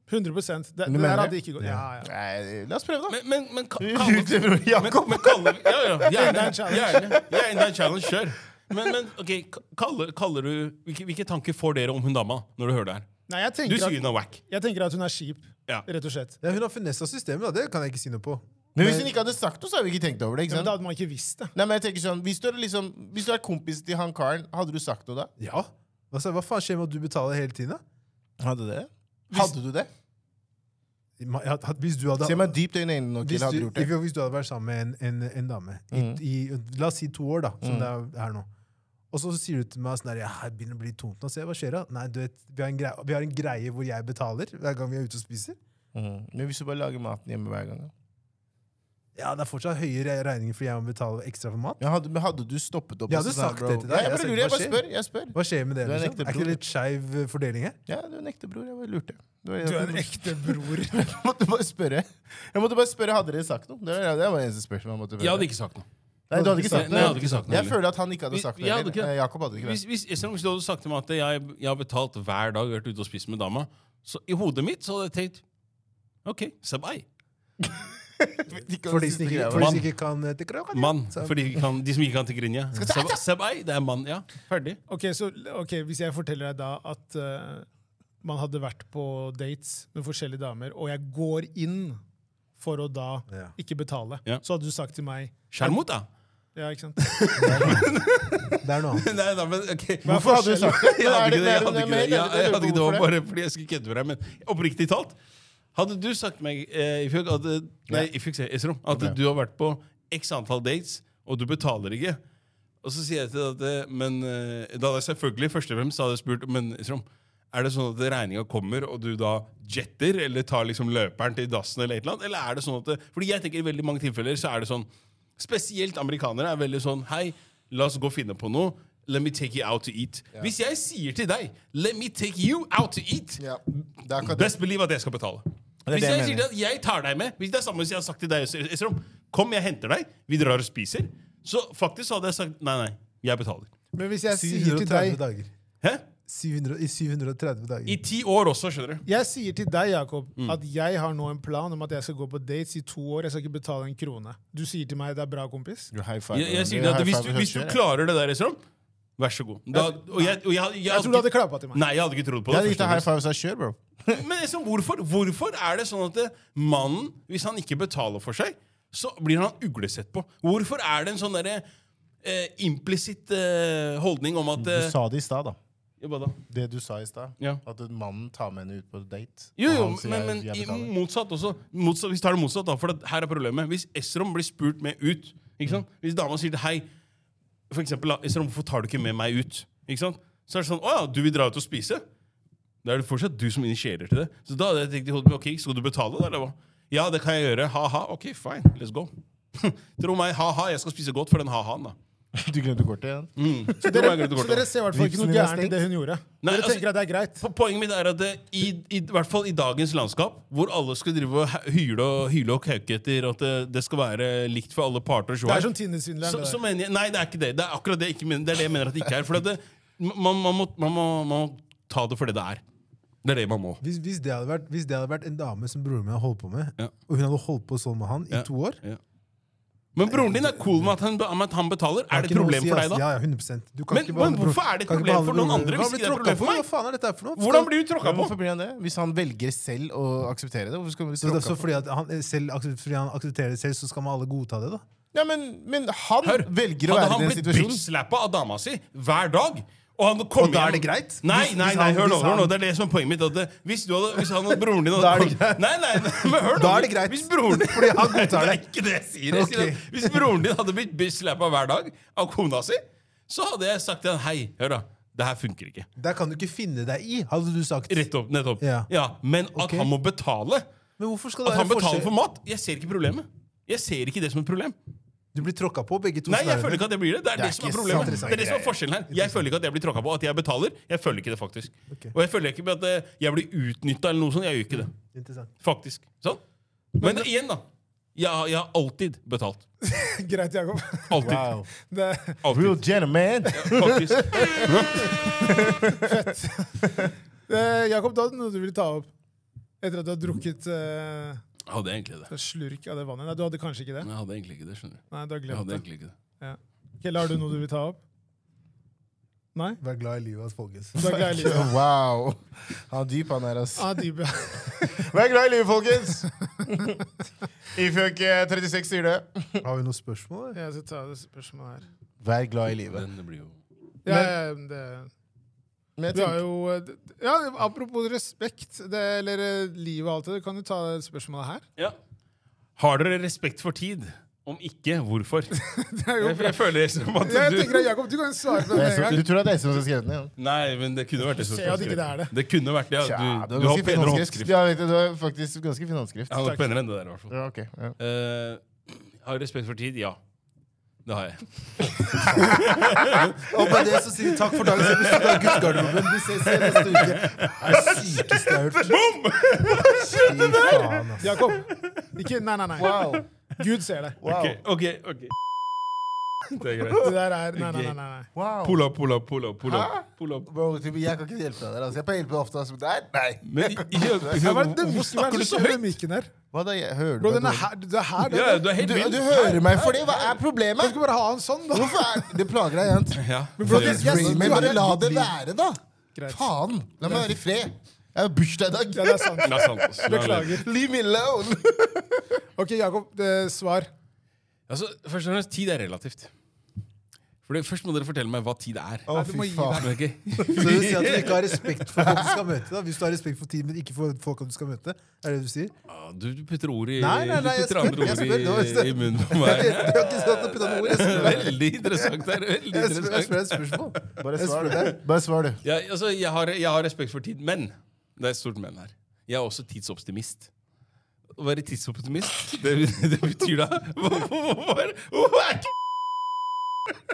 S1: 100 Det, det
S3: mener
S1: her
S3: det?
S1: hadde ikke gått. Ja, ja.
S3: Nei, la oss prøve, da.
S2: Men, men, men ka-
S3: Ut til bror
S2: Men,
S3: Jakob.
S2: men kaller Ja, ja. Gjerne.
S1: en challenge.
S2: gjerne. Jeg er enda en challenge, kjør. Men, men ok, ka- kaller, kaller du hvilke, hvilke tanker får dere om hun dama når du hører det her?
S1: Nei, jeg
S2: Du
S1: tenker,
S2: sier hun
S1: at,
S2: er wack.
S1: jeg tenker at hun er kjip,
S2: Ja.
S1: rett og slett.
S4: Ja, hun har finessa systemet, da. det kan jeg ikke si noe på.
S3: Men hvis hun ikke hadde sagt noe, så hadde vi ikke tenkt over det. ikke
S1: Men
S3: sant?
S1: da hadde man ikke visst det.
S3: Nei, men jeg tenker sånn, Hvis du er, liksom, hvis du er kompis til han karen, hadde du sagt noe da?
S4: Ja. Altså, hva faen skjer med at du betaler hele tiden? da?
S3: Hadde det? Hadde du det?
S4: Ma- ja, at Hvis du hadde,
S3: Se meg dypt i øynene nå,
S4: hvis
S3: Kill. Hadde du
S4: du,
S3: gjort det? Mm.
S4: hvis du hadde vært sammen med en, en, en dame i, i, La oss si to år, da, som det er her nå. Og så sier du til meg sånn her, ja, her begynner det å bli tomt nå. Se, hva skjer da? Nei, du vet, vi har, en greie, vi har en greie hvor jeg betaler hver gang vi er ute og spiser.
S3: Mm. Men hvis du bare lager maten hjemme hver gang? da?
S4: Ja, det er fortsatt høye re- regninger fordi jeg må betale ekstra for mat.
S3: Ja, hadde, men hadde du stoppet opp?
S4: Jeg
S3: og
S4: hadde
S3: så sa,
S4: sagt
S3: bro,
S4: det til deg.
S3: Ja,
S4: Jeg
S3: jeg bare
S4: sa,
S3: lurer, jeg
S4: hva
S3: bare
S4: skjer?
S3: spør. Jeg spør.
S4: Hva skjer med det?
S3: Du er en ekte
S4: Liksom? Er ikke
S3: bror.
S4: det litt skeiv eh, fordeling her?
S3: Ja, du er en ekte bror. Jeg bare lurte. Du er,
S1: Du er en ekte bror.
S3: Jeg måtte bare spørre. Jeg måtte bare spørre, Hadde dere sagt noe? Det var, det var eneste spørsmål jeg måtte
S2: Jeg hadde ikke sagt noe.
S3: Nei, du hadde ikke sagt
S2: Nei, jeg hadde ikke sagt noe
S3: Jeg
S2: heller.
S3: føler at han ikke hadde sagt
S2: Jeg
S3: det.
S2: hadde ikke
S3: heller.
S2: det.
S3: Eh, Jakob hadde ikke
S2: Hvis,
S3: det.
S2: hvis, selv om du hadde sagt til meg at jeg, jeg har betalt hver dag, vært ute og spist med dama, så i hodet mitt så hadde jeg tenkt OK, sabai.
S4: For de som ikke, for de som ikke kan eh, tikra, kan de-
S2: Mann.
S4: Så-
S2: For de, kan, de som ikke kan til Grinja. Sab- Sabai, det er mann. Ja, ferdig.
S1: Ok, så ok, Hvis jeg forteller deg da at eh, man hadde vært på dates med forskjellige damer, og jeg går inn for å da
S4: Ja.
S1: ikke betale,
S2: Ja.
S1: så hadde du sagt til meg
S2: Sjarmot, da.
S1: Ja, ikke sant?
S4: Det er noe annet.
S2: Nei da, men ok.
S3: Hvorfor hadde du sagt det?
S2: Jeg hadde ikke det. Jeg hadde
S3: Er det- er det
S2: ikke det.
S3: mer?
S2: Ja, jeg hadde ikke det.
S3: Hvorfor
S2: var Bare fordi jeg skulle kødde med deg. Men oppriktig talt, hadde du sagt til meg eh, Ifjok, at, eh, nei, Ifjok, sier jeg, Esrom, at du har vært på x antall dates, og du betaler ikke Og så sier jeg til deg at eh, Men eh, da hadde jeg selvfølgelig først og fremst hadde jeg spurt Men Esrom, er det sånn at regninga kommer, og du da jetter, eller tar liksom løperen til dassen, eller et eller annet? Eller er det sånn at det, Fordi jeg tenker i veldig mange tilfeller så er det sånn Spesielt amerikanere er veldig sånn Hei, la oss gå og finne på noe. Let me take you out to eat. Hvis jeg sier til deg Let me take you out to eat,
S3: Ja, det er akkurat det.
S2: best believe at jeg skal betale.
S3: er
S2: Hvis
S3: det jeg
S2: jeg sier
S3: mener.
S2: til deg at jeg tar deg med Hvis det er samme som jeg har sagt til deg Esrom, Kom, jeg henter deg, vi drar og spiser. Så faktisk så hadde jeg sagt nei, nei, jeg betaler.
S1: Men hvis jeg sier til
S4: 730
S1: deg,
S4: dager.
S2: Hæ?
S4: 700, I 730 dager.
S2: I ti år også, skjønner du.
S1: jeg sier til deg, Jakob,
S2: Mm.
S1: at jeg har nå en plan om at jeg skal gå på dates i to år, jeg skal ikke betale en krone. Du sier til meg det er bra, kompis.
S3: Du high five.
S2: Jeg, jeg sier til deg at hvis du, hvis du klarer det der, Esrom, vær så god. Da, og jeg, og jeg, jeg,
S1: Jeg tror du hadde klappa til meg.
S2: Nei, jeg hadde ikke trodd på
S3: Jeg
S2: det.
S3: hadde gitt
S2: først og
S3: deg
S2: fremst.
S3: high five hvis jeg kjører, bro.
S2: Men liksom, hvorfor, hvorfor er det sånn at det, mannen, hvis han ikke betaler for seg, så blir han uglesett på? Hvorfor er det en sånn derre eh, implisitt eh, holdning om at
S3: Du
S2: eh,
S3: sa det i stad, da.
S2: ja, hva da?
S3: Det du sa i stad.
S2: Ja.
S3: At mannen tar med henne ut på date.
S2: Jo,
S3: og
S2: jo,
S3: han sier,
S2: men, men
S3: «Jeg
S2: i,
S3: betaler».
S2: motsatt også. Motsatt, hvis vi tar det motsatt, da. For det, her er problemet. Hvis Esrom blir spurt med ut ikke sant?
S3: Mm.
S2: Hvis dama sier til hei For eksempel, da, Esrom, hvorfor tar du ikke med meg ut? Ikke sant? Så er det sånn Å ja, du vil dra ut og spise? Da er det fortsatt du som initierer til det. Så da hadde jeg tenkt i hodet mitt OK, skal du betale, da, eller hva? Ja, det kan jeg gjøre. Ha-ha. OK, fine. Let's go. Tro meg, ha-ha. Jeg skal spise godt for den ha-ha-en, da.
S3: Du glemte kortet igjen.
S2: Mm. Så
S1: Dere,
S2: meg jeg glemte
S1: så
S2: kortet.
S1: dere ser i hvert fall ikke
S3: Vipsen
S1: noe
S3: min er
S1: gærent i
S3: stengt.
S1: det hun gjorde.
S2: Nei,
S1: Dere
S2: altså-
S1: tenker at det er greit.
S2: Po- Poenget mitt er at det, i, i, i hvert fall i dagens landskap, hvor alle skal drive og he- hyle og, hyle og kauke etter at det, det skal være likt for alle parter og
S1: Det
S2: sjåar,
S1: er som Tinder-svindleren.
S2: så,
S1: det der.
S2: så mener jeg Nei, det er ikke det. Det er akkurat det jeg ikke mener. Det er det jeg mener at det ikke er. For at det, man, man, må, man, må, man må ta det for det det er. Det er det man må.
S4: Hvis, hvis, det hadde vært, hvis det hadde vært en dame som broren min hadde holdt på med,
S2: Ja.
S4: og hun hadde holdt på sånn med han i
S2: Ja.
S4: to år
S2: Ja. Men broren din er cool med at han, med at han betaler. Er
S4: har
S2: det et
S4: ikke noe å
S2: problem
S4: si,
S2: for
S4: ass.
S2: deg, da?
S4: Ja, ja, 100 du kan
S2: Men- men
S4: ikke behandle
S2: hvorrin-
S4: broren-
S2: hvorfor er det et
S4: kan ikke
S2: problem for
S4: behandle
S2: noen
S4: broren-
S2: andre hvis
S4: Hva
S2: ikke det
S4: blir
S2: er et problem
S4: tråkket
S2: for
S4: på?
S2: meg?
S4: Hva faen er dette her for noe?
S2: Hvordan blir du tråkka
S3: Men
S2: på?
S3: Hvorfor blir han det? Hvis han velger selv å akseptere det, hvorfor skal vi
S4: Så det er
S3: tråkke
S4: så
S3: på?
S4: fordi, at han eh, selv, aksep- fordi han aksepterer det selv, så skal man alle godta det, da?
S3: Ja, men, men han
S2: Hør,
S3: velger å
S2: hadde
S3: være
S2: han
S3: i den
S2: blitt
S3: situasjonen.
S2: bitch-slappa av dama si hver dag, Og, han kom
S4: Og da er
S2: hjem-
S4: det greit?
S2: Nei,
S4: Hvis-
S2: nei,
S4: hvis
S2: nei,
S4: han-
S2: hør nå,
S4: hvis
S2: hør nå,
S4: han-
S2: det er det som er poenget mitt. At det, hvis, du hadde, hvis han og broren din hadde
S4: Da er det greit.
S2: Nei, nei, nei, men hør nå.
S4: Da er det greit.
S2: Hvis broren din
S4: Fordi han godtar
S2: Det
S4: det.
S2: er ikke det jeg sier. Jeg sier
S4: Ok.
S2: at hvis broren din hadde blitt slappa hver dag av kona si, så hadde jeg sagt til han hei, hør da, det her funker ikke.
S4: Der kan du ikke finne deg i, hadde du sagt.
S2: Rett opp, nettopp.
S4: Ja.
S2: men at
S4: Ok.
S2: han må betale.
S4: Men hvorfor skal det
S2: At han
S4: være
S2: betaler
S4: forskjell?
S2: for mat. Jeg ser ikke problemet. Jeg ser ikke det som et problem.
S4: Du blir tråkka på, begge to.
S2: Nei, jeg
S4: snarere.
S2: føler ikke at det blir det. Det er det, som er
S4: ikke
S2: problemet.
S4: sant,
S2: Det er det som er forskjellen her. Jeg føler ikke at jeg blir tråkka på, at jeg betaler. Jeg føler ikke det, faktisk.
S4: Ok.
S2: Og jeg føler ikke at eh, jeg blir utnytta eller noe sånt. Jeg gjør ikke det.
S4: Interessant.
S2: Faktisk. Sånn. Men igjen, da. Jeg, har- jeg har alltid betalt.
S1: Greit, Jakob.
S2: Alltid.
S3: Wow.
S1: Det,
S3: Real
S2: Alltid.
S3: gentleman!
S2: Faktisk.
S1: det, Jakob, da er det noe du ville ta opp etter at du har drukket eh,
S2: Jeg hadde egentlig det.
S1: en slurk av det vannet. Nei, du hadde kanskje ikke det?
S2: Jeg hadde egentlig ikke det, skjønner du.
S1: Nei, du har
S2: Jeg
S1: glemt
S2: hadde
S1: det.
S2: egentlig ikke det.
S1: Kjell, har du noe du vil ta opp? Nei?
S4: Vær glad i livet, ass, folkens.
S1: Du er glad i livet?
S3: Wow! Han er dyp, han her, ass.
S1: Ah, dyp.
S3: Vær glad i livet, folkens! Ifjøk
S1: eh,
S3: 36 sier det.
S4: Har vi noen spørsmål? eller?
S1: Jeg skal ta det spørsmålet her.
S3: Vær glad i livet.
S2: Den blir jo
S1: Ja, ja, det...
S3: Men jeg
S1: Vi har
S3: tenker,
S1: jo eh, d- Ja, apropos respekt, det, eller eh, livet og alt det, kan du ta det spørsmålet her?
S2: Ja. Har dere respekt for tid? Om ikke, hvorfor? Jeg, jeg føler som at
S1: Ja, jeg
S2: du
S1: tenker at Jakob, du kan svare på det
S3: det
S1: med
S3: er
S1: en
S3: så,
S1: gang.
S3: du tror det er Espen som har skrevet den? Ja.
S2: Nei, men det kunne vært det. som
S1: Se at ikke det er det.
S2: Det kunne vært det, ja.
S3: Tja,
S2: Du,
S3: det var
S2: du har
S3: ganske fin
S2: penere
S3: håndskrift.
S2: håndskrift.
S3: Ja, vet du, det var faktisk ganske fin håndskrift.
S2: Ja, det var penere enn det der, i hvert fall.
S3: Ja, ok. Ja.
S2: Eh, har jeg respekt for tid? Ja. Det har jeg.
S4: Og med det så sier vi takk for dagens episode av Guttgarderoben. Vi ses igjen neste uke. Det er det sykeste jeg har hørt. Fy faen, altså. ass.
S1: Jakob, ikke Nei, nei, nei.
S3: Wow.
S1: Gud ser det.
S3: Wow.
S2: Ok, ok, ok. Det er greit.
S1: Det der er Nei, nei, nei. nei, nei.
S3: wow.
S2: Pull up, pull up, pull up. Pull up.
S3: Hæ?
S2: Pull up.
S3: Bro, typ, jeg kan ikke hjelpe deg der. Altså. Jeg pleier å hjelpe deg ofte. Altså. Nei, nei.
S2: Men i- i-
S1: Ja, hva er det- den
S2: hvorfor
S1: mikken der,
S2: snakker du
S1: så
S2: så
S1: skjønner
S2: høyt?
S1: den mikken der?
S3: Hva da? Jeg hører
S1: Bro,
S3: meg
S1: den er
S3: dårlig.
S1: her, det er her den
S2: Ja,
S1: er.
S2: du er helt
S3: du,
S2: vill.
S3: du hører meg for det? Hva er
S1: Du
S3: problemet?
S1: skal bare ha en sånn, da.
S3: Hvorfor er det plager deg igjen?
S2: Ja.
S1: bro,
S2: det gjør
S1: jeg-
S2: det.
S1: synes
S3: Men
S1: du
S3: bare
S1: er-
S3: la det være, da.
S1: Greit.
S3: Faen. La meg være i fred. Jeg har bursdag i
S1: Ja,
S3: dag.
S1: det er sant.
S2: Det er sant, ass.
S1: Beklager.
S3: Leave me alone.
S1: OK, Jakob, det, svar.
S2: Altså, først og fremst, tid er relativt. Fordi Først må dere fortelle meg hva tid er.
S3: Å,
S1: Nei, du må
S3: fy
S1: gi
S3: faen.
S2: Ok?
S4: Så du sier at du ikke har respekt for folk du skal møte? da? Hvis du har respekt for tid, men ikke for folk du skal møte? Er det det du sier?
S2: Ah, Du, du putter ord i
S4: Nei, nei, nei,
S2: Du
S4: jeg
S2: putter
S4: spør,
S2: andre
S4: jeg
S2: ord
S4: spør, det
S2: i,
S4: var ikke-
S2: i munnen på
S4: Jeg
S2: meg.
S4: vet- jeg har ikke sånn sagt å putte noe ord, jeg spør deg.
S2: Veldig interessant der. Veldig
S4: Jeg spør- jeg
S2: interessant.
S4: spør deg et spørsmål.
S3: Bare
S4: Jeg
S3: svar,
S4: spør
S3: du.
S4: deg.
S3: Bare svar, du.
S2: Ja, altså, jeg, har, jeg har respekt for tid, men det er et stort men her. Jeg er også tidsoptimist. Å være tidsoptimist, det, det betyr da Hvorfor hvorfor- hvorfor er ikke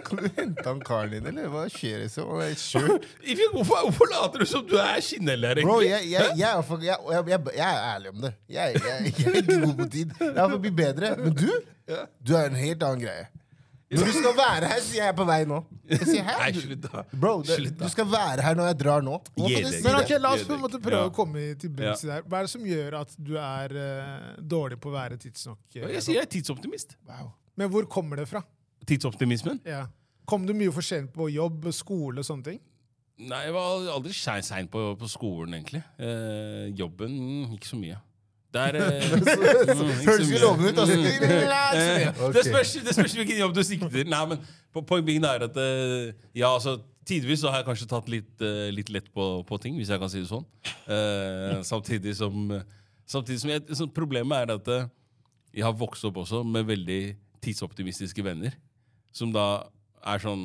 S3: Kan du hente han karen din, eller? Hva skjer liksom? Å, jeg er sjuk.
S2: Ifjell, Hvorfor, hvorfor later du som du er skinnheller,
S3: Bro,
S2: egentlig?
S3: jeg, jeg, jeg, er for, jeg, jeg, jeg, jeg er ærlig om det. Jeg, jeg, jeg er ikke god på tid. Jeg er for å bli bedre. Men du, du er en helt annen greie. Når du skal være her, sier jeg er på vei nå. Jeg sier,
S2: Nei,
S3: hei, du,
S2: slutt, da.
S3: bro, det,
S2: Slutt, da.
S3: du skal være her når jeg drar nå. Hvorfor
S2: Gi
S3: kan
S2: deg.
S3: jeg si
S1: Men
S3: det?
S1: ok, La oss på en måte prøve
S2: Ja.
S1: å komme til bunns i det her. Hva er det som gjør at du er eh, dårlig på å være tidsnok? eh,
S2: Jeg
S1: Jakob?
S2: sier jeg er tidsoptimist.
S1: Men hvor kommer det fra?
S2: Tidsoptimismen?
S1: Ja. Kom du mye for sent på jobb, skole og sånne ting?
S2: Nei, jeg var aldri sein sein på, på skolen, egentlig. Eh, jobben mm, ikke så mye. Der eh, mm, ikke så
S3: Høres ikke
S2: mye.
S3: lovende ut, altså.
S2: Mm.
S3: Ikke så mye.
S2: Eh, Det, spørs, det spørs hvilken jobb du sikter til. Nei, men po- Poenget er at eh, ja, altså, tidvis så har jeg kanskje tatt litt, eh, litt lett på, på ting, hvis jeg kan si det sånn. Eh, samtidig som, samtidig som jeg, så Problemet er at eh, jeg har vokst opp også med veldig tidsoptimistiske venner. Som da er sånn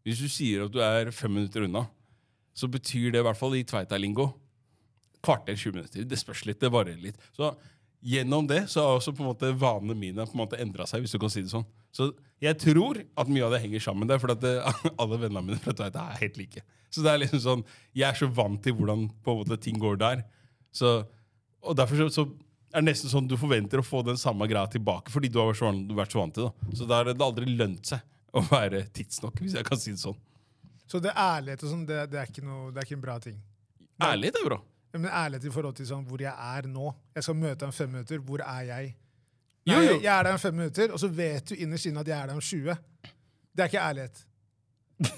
S2: Hvis du sier at du er fem minutter unna, så betyr det i hvert fall i Tveita-lingo kvarter, 20 minutter. Det spørs litt, det varer litt. Så gjennom det så har også på en måte vanene mine på en måte endra seg, hvis du kan si det sånn. Så jeg tror at mye av det henger sammen der, for at det, alle vennene mine fra Tveita er helt like. Så det er liksom sånn, jeg er så vant til hvordan på en måte ting går der. Så, og derfor så, så er det nesten sånn du forventer å få den samme greia tilbake, fordi du har vært så vant, vært så vant til det. da. Så da har det aldri lønt seg å være tidsnok, hvis jeg kan si det sånn.
S1: Så det er ærlighet og sånn, det, det, er ikke noe, det er ikke en bra ting.
S2: Ærlighet er bra.
S1: Ja, Men ærlighet i forhold til sånn, hvor jeg er nå. Jeg skal møte deg om fem minutter. Hvor er jeg? Nei,
S2: Jo, jo.
S1: Jeg er der om fem minutter, og så vet du innerst inne at jeg er der om 20. Det er ikke ærlighet.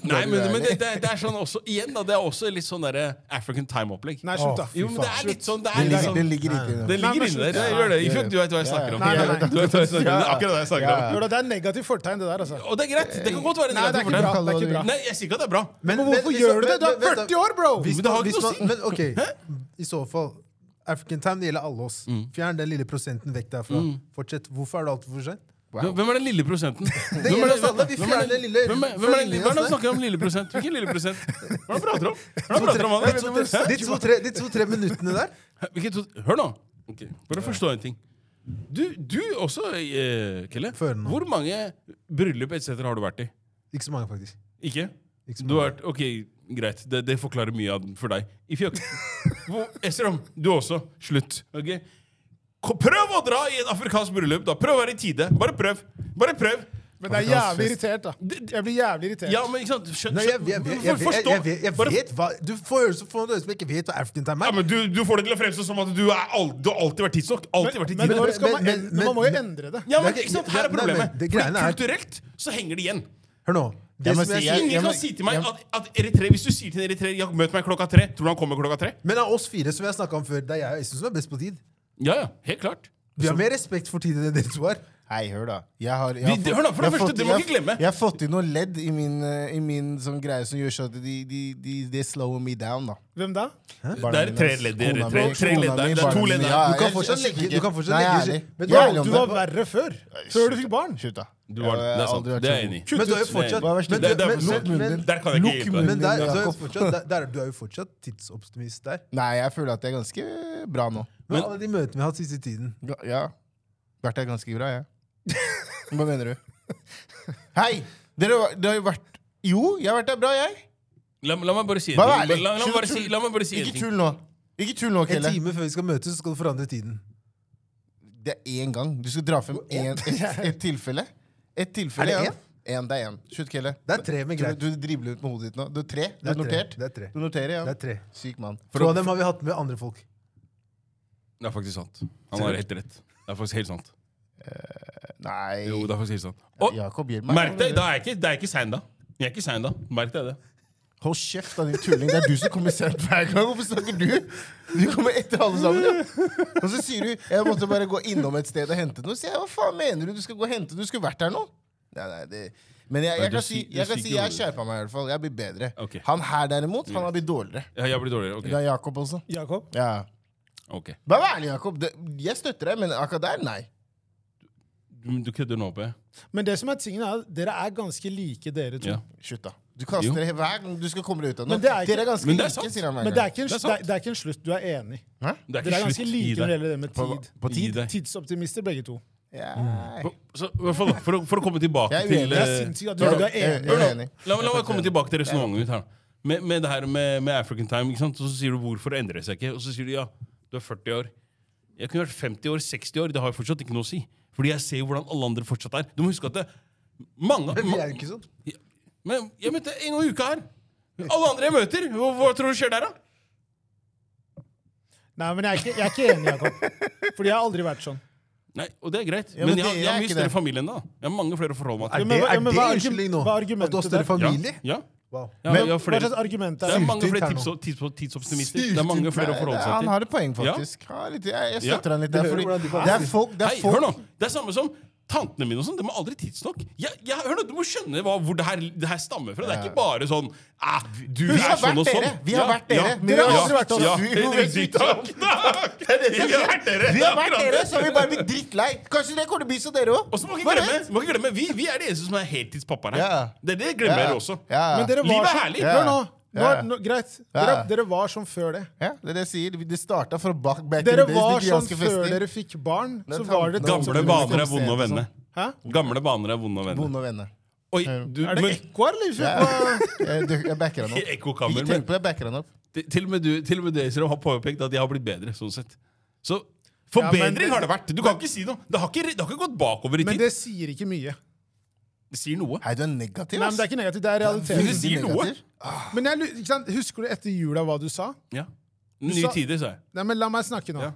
S2: Nei, men, men det, det, er- det er sånn også Igjen, da. Det er også litt sånn derre African time-opplegg.
S1: Nei, slutt, da.
S4: Åh,
S1: Fy
S2: Jo, men det
S1: faen.
S2: er litt sånn Det
S3: Det
S2: er litt
S3: ligger, det
S2: sånn
S3: ligger ikke i
S2: det
S3: det.
S1: Nei, men
S2: ligger inni der.
S1: slutt.
S2: Det gjør det. Ikke
S3: Ja,
S2: for at du vet hva jeg snakker om.
S1: Nei, nei, nei.
S2: Du vet hva jeg snakker om. Det er akkurat det jeg snakker om.
S1: Jo, da, det er negativt fortegn, det der, altså.
S2: Og det er greit. Det kan godt være
S1: Nei, det er ikke bra.
S2: negativt
S1: Det er ikke
S2: for
S1: bra.
S2: deg. Nei, jeg sier ikke at det er bra.
S1: Men hvorfor gjør du det? Du er 40 år, bro!
S4: Hvis
S2: Men det har
S4: man,
S2: ikke
S4: hvis
S2: noe
S4: man, men ok, i så fall African time, det gjelder alle oss.
S1: Mm.
S4: Fjern den lille prosenten vekk derfra. Fortsett. Hvorfor er det alltid for sent?
S2: Hvem er den lille prosenten?
S4: Det
S2: Hvem er
S4: gjelder oss alle. Vi
S2: hvem er
S4: fjerner
S2: den-
S4: lille-
S2: Hvem er hvem er den-
S4: følgingen
S2: hvem er det
S4: oss
S2: som snakker om lille prosent? Hvilken lille prosent? Hva er det han prater om? Hva er det han prater om? han?
S4: De to-tre de to, tre- de to, tre minuttene der.
S2: Hæ? Hvilket to- Hør nå. Ok, Bare forstå en ting. Du, du også, eh, Kelle.
S4: Før nå.
S2: Hvor mange bryllup etc. har du vært i?
S4: Ikke så mange, faktisk.
S2: Ikke?
S4: Ikke så
S2: Du har
S4: mange.
S2: vært, ok, Greit, det, det forklarer mye av den for deg. I fjøk. Hvor- Esrom, du også. Slutt. ok? Ko- Prøv å dra i et afrikansk bryllup! da. Prøv å være i tide. Bare prøv. Bare prøv.
S1: Men det er jævlig irritert, da. Jeg blir jævlig irritert.
S2: Ja, men ikke sant? Skjø,
S4: Nei, jeg, jeg, jeg, jeg, jeg, jeg,
S2: forstå.
S4: jeg, jeg,
S2: Bare-
S4: vet hva Du får høre som får det som jeg ikke vet hva African time
S2: Ja,
S4: er.
S2: men du, du får det til å fremstå som at du, er al- du har alltid vært tidsnok. Alltid vært i
S1: Men
S2: tide.
S1: når skal man,
S4: men-
S1: en-
S4: men-
S1: man må jo
S4: men-
S1: endre det.
S2: Ja, men
S4: Det er-
S2: ikke sant?
S4: ja,
S2: Her er
S4: nei, men
S2: problemet.
S4: det
S2: Fordi
S4: greiene er-
S2: kulturelt så henger det igjen.
S4: Hør nå. Det
S3: Jeg må
S4: som
S3: si- jeg-
S4: jeg sier,
S2: Ingen
S3: jeg må-
S2: kan si til meg
S3: jeg-
S2: at, at eritreer, hvis du sier til en eritreer ja, 'møt meg klokka tre', tror du han kommer klokka tre?
S4: men av oss fire, som jeg snakket om før, det er jeg og Øystein som er best på tid.
S2: Ja, ja, helt klart.
S4: Vi har mer respekt for tid enn dere to har.
S3: Hei, hør da. Jeg har,
S2: Vi-
S3: jeg har fått-
S2: hør da, for det
S3: jeg har
S2: første,
S3: fått-
S2: det må
S3: jeg-
S2: ikke glemme.
S3: Jeg har fått inn noen ledd i min, eh, i min sånn greie som gjør sånn at de, de, de, de slower me down, da.
S1: Hvem da?
S2: Det er tre ledd, det er tre- tre ledd der, det er to ledd der.
S4: Du kan fortsatt legge- du kan fortsatt legge- men
S3: Men
S4: du
S3: du
S4: er-
S3: ærlig om
S1: Du
S3: det.
S1: var verre før. Før du fikk barn.
S3: Slutt, da.
S2: Du var, det
S3: Jeg
S2: er
S3: har
S2: sant.
S3: aldri vært
S2: Det er
S3: så
S2: jeg
S3: god.
S2: enig i.
S4: Men du er jo fortsatt
S3: Hva er verst?
S4: men-
S2: Det- det er
S4: men-
S2: for-
S4: men- men-
S2: Der kan jeg ikke hjelpe deg.
S4: Men der,
S3: Jakob.
S4: du, er jo fortsatt, der, der, er- du er jo fortsatt tidsoptimist der.
S3: Nei, jeg føler at jeg er ganske bra nå.
S4: Men
S2: Men-
S4: alle de møtene vi har hatt siste tiden
S3: Ga- Ja. Vært der ganske bra, jeg. Hva mener du? Hei! Dere var- det har jo vært Jo, jeg har vært der bra, jeg.
S2: La, la meg bare si en
S3: Bare vær
S2: ting.
S3: ærlig.
S2: La, la, meg bare
S3: Slutt
S2: si,
S3: å tulle.
S2: la meg bare si en
S3: Ikke
S2: ting.
S3: tull nå. Ikke tull nå,
S4: En
S3: Kelle.
S4: time før vi skal møtes, så skal du forandre tiden.
S3: Det er én gang. Du skal dra frem én- ett et tilfelle. Et tilfelle,
S4: Er det
S3: ja. En, det er én. Slutt, Kelle.
S4: Det er tre, men
S3: Du,
S4: greit.
S3: du dribler ut med hodet ditt nå. Du er tre. Du
S4: Det
S3: har
S4: er tre.
S3: notert.
S4: Det er tre.
S3: Du noterer, ja.
S4: Det er tre.
S3: Syk mann.
S4: To av dem har vi hatt med andre folk.
S2: Det er faktisk sant. Han har helt rett. Det er faktisk helt sant.
S3: Nei
S2: Jo, det er faktisk helt sant. Og
S3: Jakob, hjelp meg.
S2: merk deg, da er jeg ikke, det er ikke sein da. Jeg er ikke sein da. Merk deg det.
S3: Hold kjeft, da, din tulling. Det er du som kommer sent hver gang. Hvorfor snakker du? Du kommer etter alle sammen. Ja. Og så sier du jeg måtte bare gå innom et sted og hente noe. Så jeg, hva faen mener du? Du skal gå og hente Du skulle vært her nå. Nei, nei, det... Men jeg, jeg
S2: du
S3: kan si
S2: sy- du
S3: jeg, kan si,
S2: syker
S3: jeg
S2: hodet.
S3: skjerpa meg i hvert fall. Jeg blir bedre.
S2: Ok.
S3: Han her derimot, han har blitt dårligere.
S2: Ja, Jeg blir
S3: Det
S2: dårligere.
S3: er Jakob også.
S1: Jakob?
S3: Ja.
S2: Ok. Ok.
S3: Bare vær ærlig, Jakob. Det, jeg støtter deg, men akkurat der, nei.
S2: Du, du kødder nå, P.
S1: Men det som er tingen er, at dere er ganske like, dere to.
S2: Ja.
S3: Slutt, da. Du
S2: Jo.
S3: kaster det hver gang du skal komme deg ut av noe.
S1: Men det er ikke-
S3: Dere er ganske
S2: Men det er
S3: like,
S2: sant.
S3: sier han hver
S1: Men
S3: gang.
S1: det er ikke Mm. en,
S2: Det er
S1: det
S2: sant.
S1: er, det er ikke en slutt. Du er enig.
S2: Det er
S3: Hæ?
S1: Dere
S2: ikke
S1: er ganske
S2: slutt i
S1: like når det
S2: det.
S1: gjelder det med tid.
S3: På
S2: Gi
S3: tid?
S2: deg.
S1: Tidsoptimister, begge to.
S3: Ja.
S2: Så, i hvert fall da, for, å, for å komme tilbake
S3: Jeg er
S2: til
S3: uenig.
S1: Det er
S2: eh,
S1: sinnssykt at du,
S3: Hør
S1: du er
S3: da, jeg
S1: enig.
S3: jeg er enig.
S2: La, la meg komme tilbake til resonnementet mitt her. da. Med, med det her med, med African time, ikke sant? så sier du hvorfor endrer det seg ikke? Og så sier du ja, du er 40 år. Jeg kunne vært 50 år, 60 år, det har jo fortsatt ikke noe å si. Fordi jeg ser jo hvordan alle andre fortsatt er. Du må huske at det, mange
S4: Men vi er jo ikke sånn.
S2: Men jeg møtte en gang i uka her. Alle andre jeg møter, hva, hva tror du skjer der, da?
S1: Nei, men jeg er ikke, jeg er ikke enig, Jakob. Fordi jeg har aldri vært sånn.
S2: Nei, Og det er greit,
S3: Ja,
S2: men,
S3: men
S2: jeg, har-
S3: det
S2: jeg har
S3: er
S2: mye
S3: ikke
S2: større
S3: det.
S2: familie enn da. Jeg har mange flere å forholde meg
S4: Er
S2: til.
S1: Jo,
S4: det,
S1: men hva-
S4: er
S1: jo, men
S4: det
S1: hva er argu-
S4: unnskyldning nå?
S1: hva er
S4: At du har
S1: argumentet
S4: større
S1: der?
S4: familie?
S2: Ja,
S4: Wow.
S2: ja, jeg
S1: Hva
S2: har flere,
S1: slags argument er
S2: det er
S1: det?
S2: mange
S4: Syltynt
S2: flere
S4: her nå.
S2: tips, tips, tidsoptimister. Det er mange flere å
S3: Nei,
S2: forholde
S3: det-
S2: seg til.
S3: Han har et poeng,
S2: Ja.
S3: faktisk. Ja, litt, jeg, jeg
S2: Ja.
S3: støtter han litt
S4: Du
S3: der.
S4: hører
S3: Fordi
S4: hvordan de
S3: det er
S4: kaster.
S3: folk, det er
S2: Hei,
S3: folk
S2: hør nå! Det er samme som tantene mine og sånn. De er aldri tidsnok. Jeg, jeg, hør nå, Du må skjønne hva, hvor det her, det her stammer fra. Det er ikke bare sånn ah, du
S3: Vi
S2: er
S3: har
S2: sånn
S3: vært
S2: og sånn.
S3: dere! Vi har vært dere! Men
S1: Dere har aldri vært oss.
S2: Ja,
S3: Vi-
S2: det er ditt tak. Det er dere som har vært dere.
S3: Vi har vært
S2: Akkurat
S3: dere,
S2: det.
S3: så har vi bare blitt drittlei. Kanskje det kommer til å bli som dere òg.
S2: Og så må vi ikke glemme, må ikke glemme vi, vi er de eneste som er heltidspappaer her.
S3: Ja.
S2: Det, det glemmer dere også.
S3: Ja.
S1: Men dere var
S2: Livet er
S1: som-
S2: herlig.
S1: Hør nå.
S3: Ja.
S1: nå, er- nå greit. Dere,
S3: Ja.
S1: dere var som før det.
S3: ja, det er det jeg sier. Det starta fra bak back
S1: Dere
S3: in the days,
S1: var
S3: de
S2: sånn
S1: som før
S3: ganske fester.
S1: dere fikk barn.
S3: Det er
S1: Så var det sånn-
S3: tanten.
S2: Gamle vaner er vonde å vende.
S1: Hæ?
S2: Gamle vaner er vonde å vende.
S3: Bonde og venner.
S2: Oi, du,
S1: Er det
S2: men,
S1: ekko her, eller?
S3: Ja. Jeg, jeg backer han opp.
S2: ekkokammer,
S3: Ikke
S2: men
S3: tenk på det, jeg backer han opp.
S2: Til- Til og med du, til og med du Ezra, har påpekt at de har blitt bedre. sånn sett.
S1: Ja,
S2: Så
S1: men
S2: forbedring
S1: det-
S2: har det vært. Du kan ikke si noe. Det har ikke, det har ikke gått bakover i
S1: Men
S2: tid.
S1: det sier ikke mye.
S2: Det sier noe.
S3: Hei, du er negativ,
S1: Nei, men
S3: ass.
S1: Det er ikke negativt, det er
S2: Men det
S1: realiteten.
S2: sier noe.
S3: negativ.
S1: Men jeg, lu- ikke sant? Husker du etter jula hva du sa?
S2: Ja. Nye
S1: sa-
S2: tider, sa jeg.
S1: Nei, men La meg snakke nå.
S2: Ja.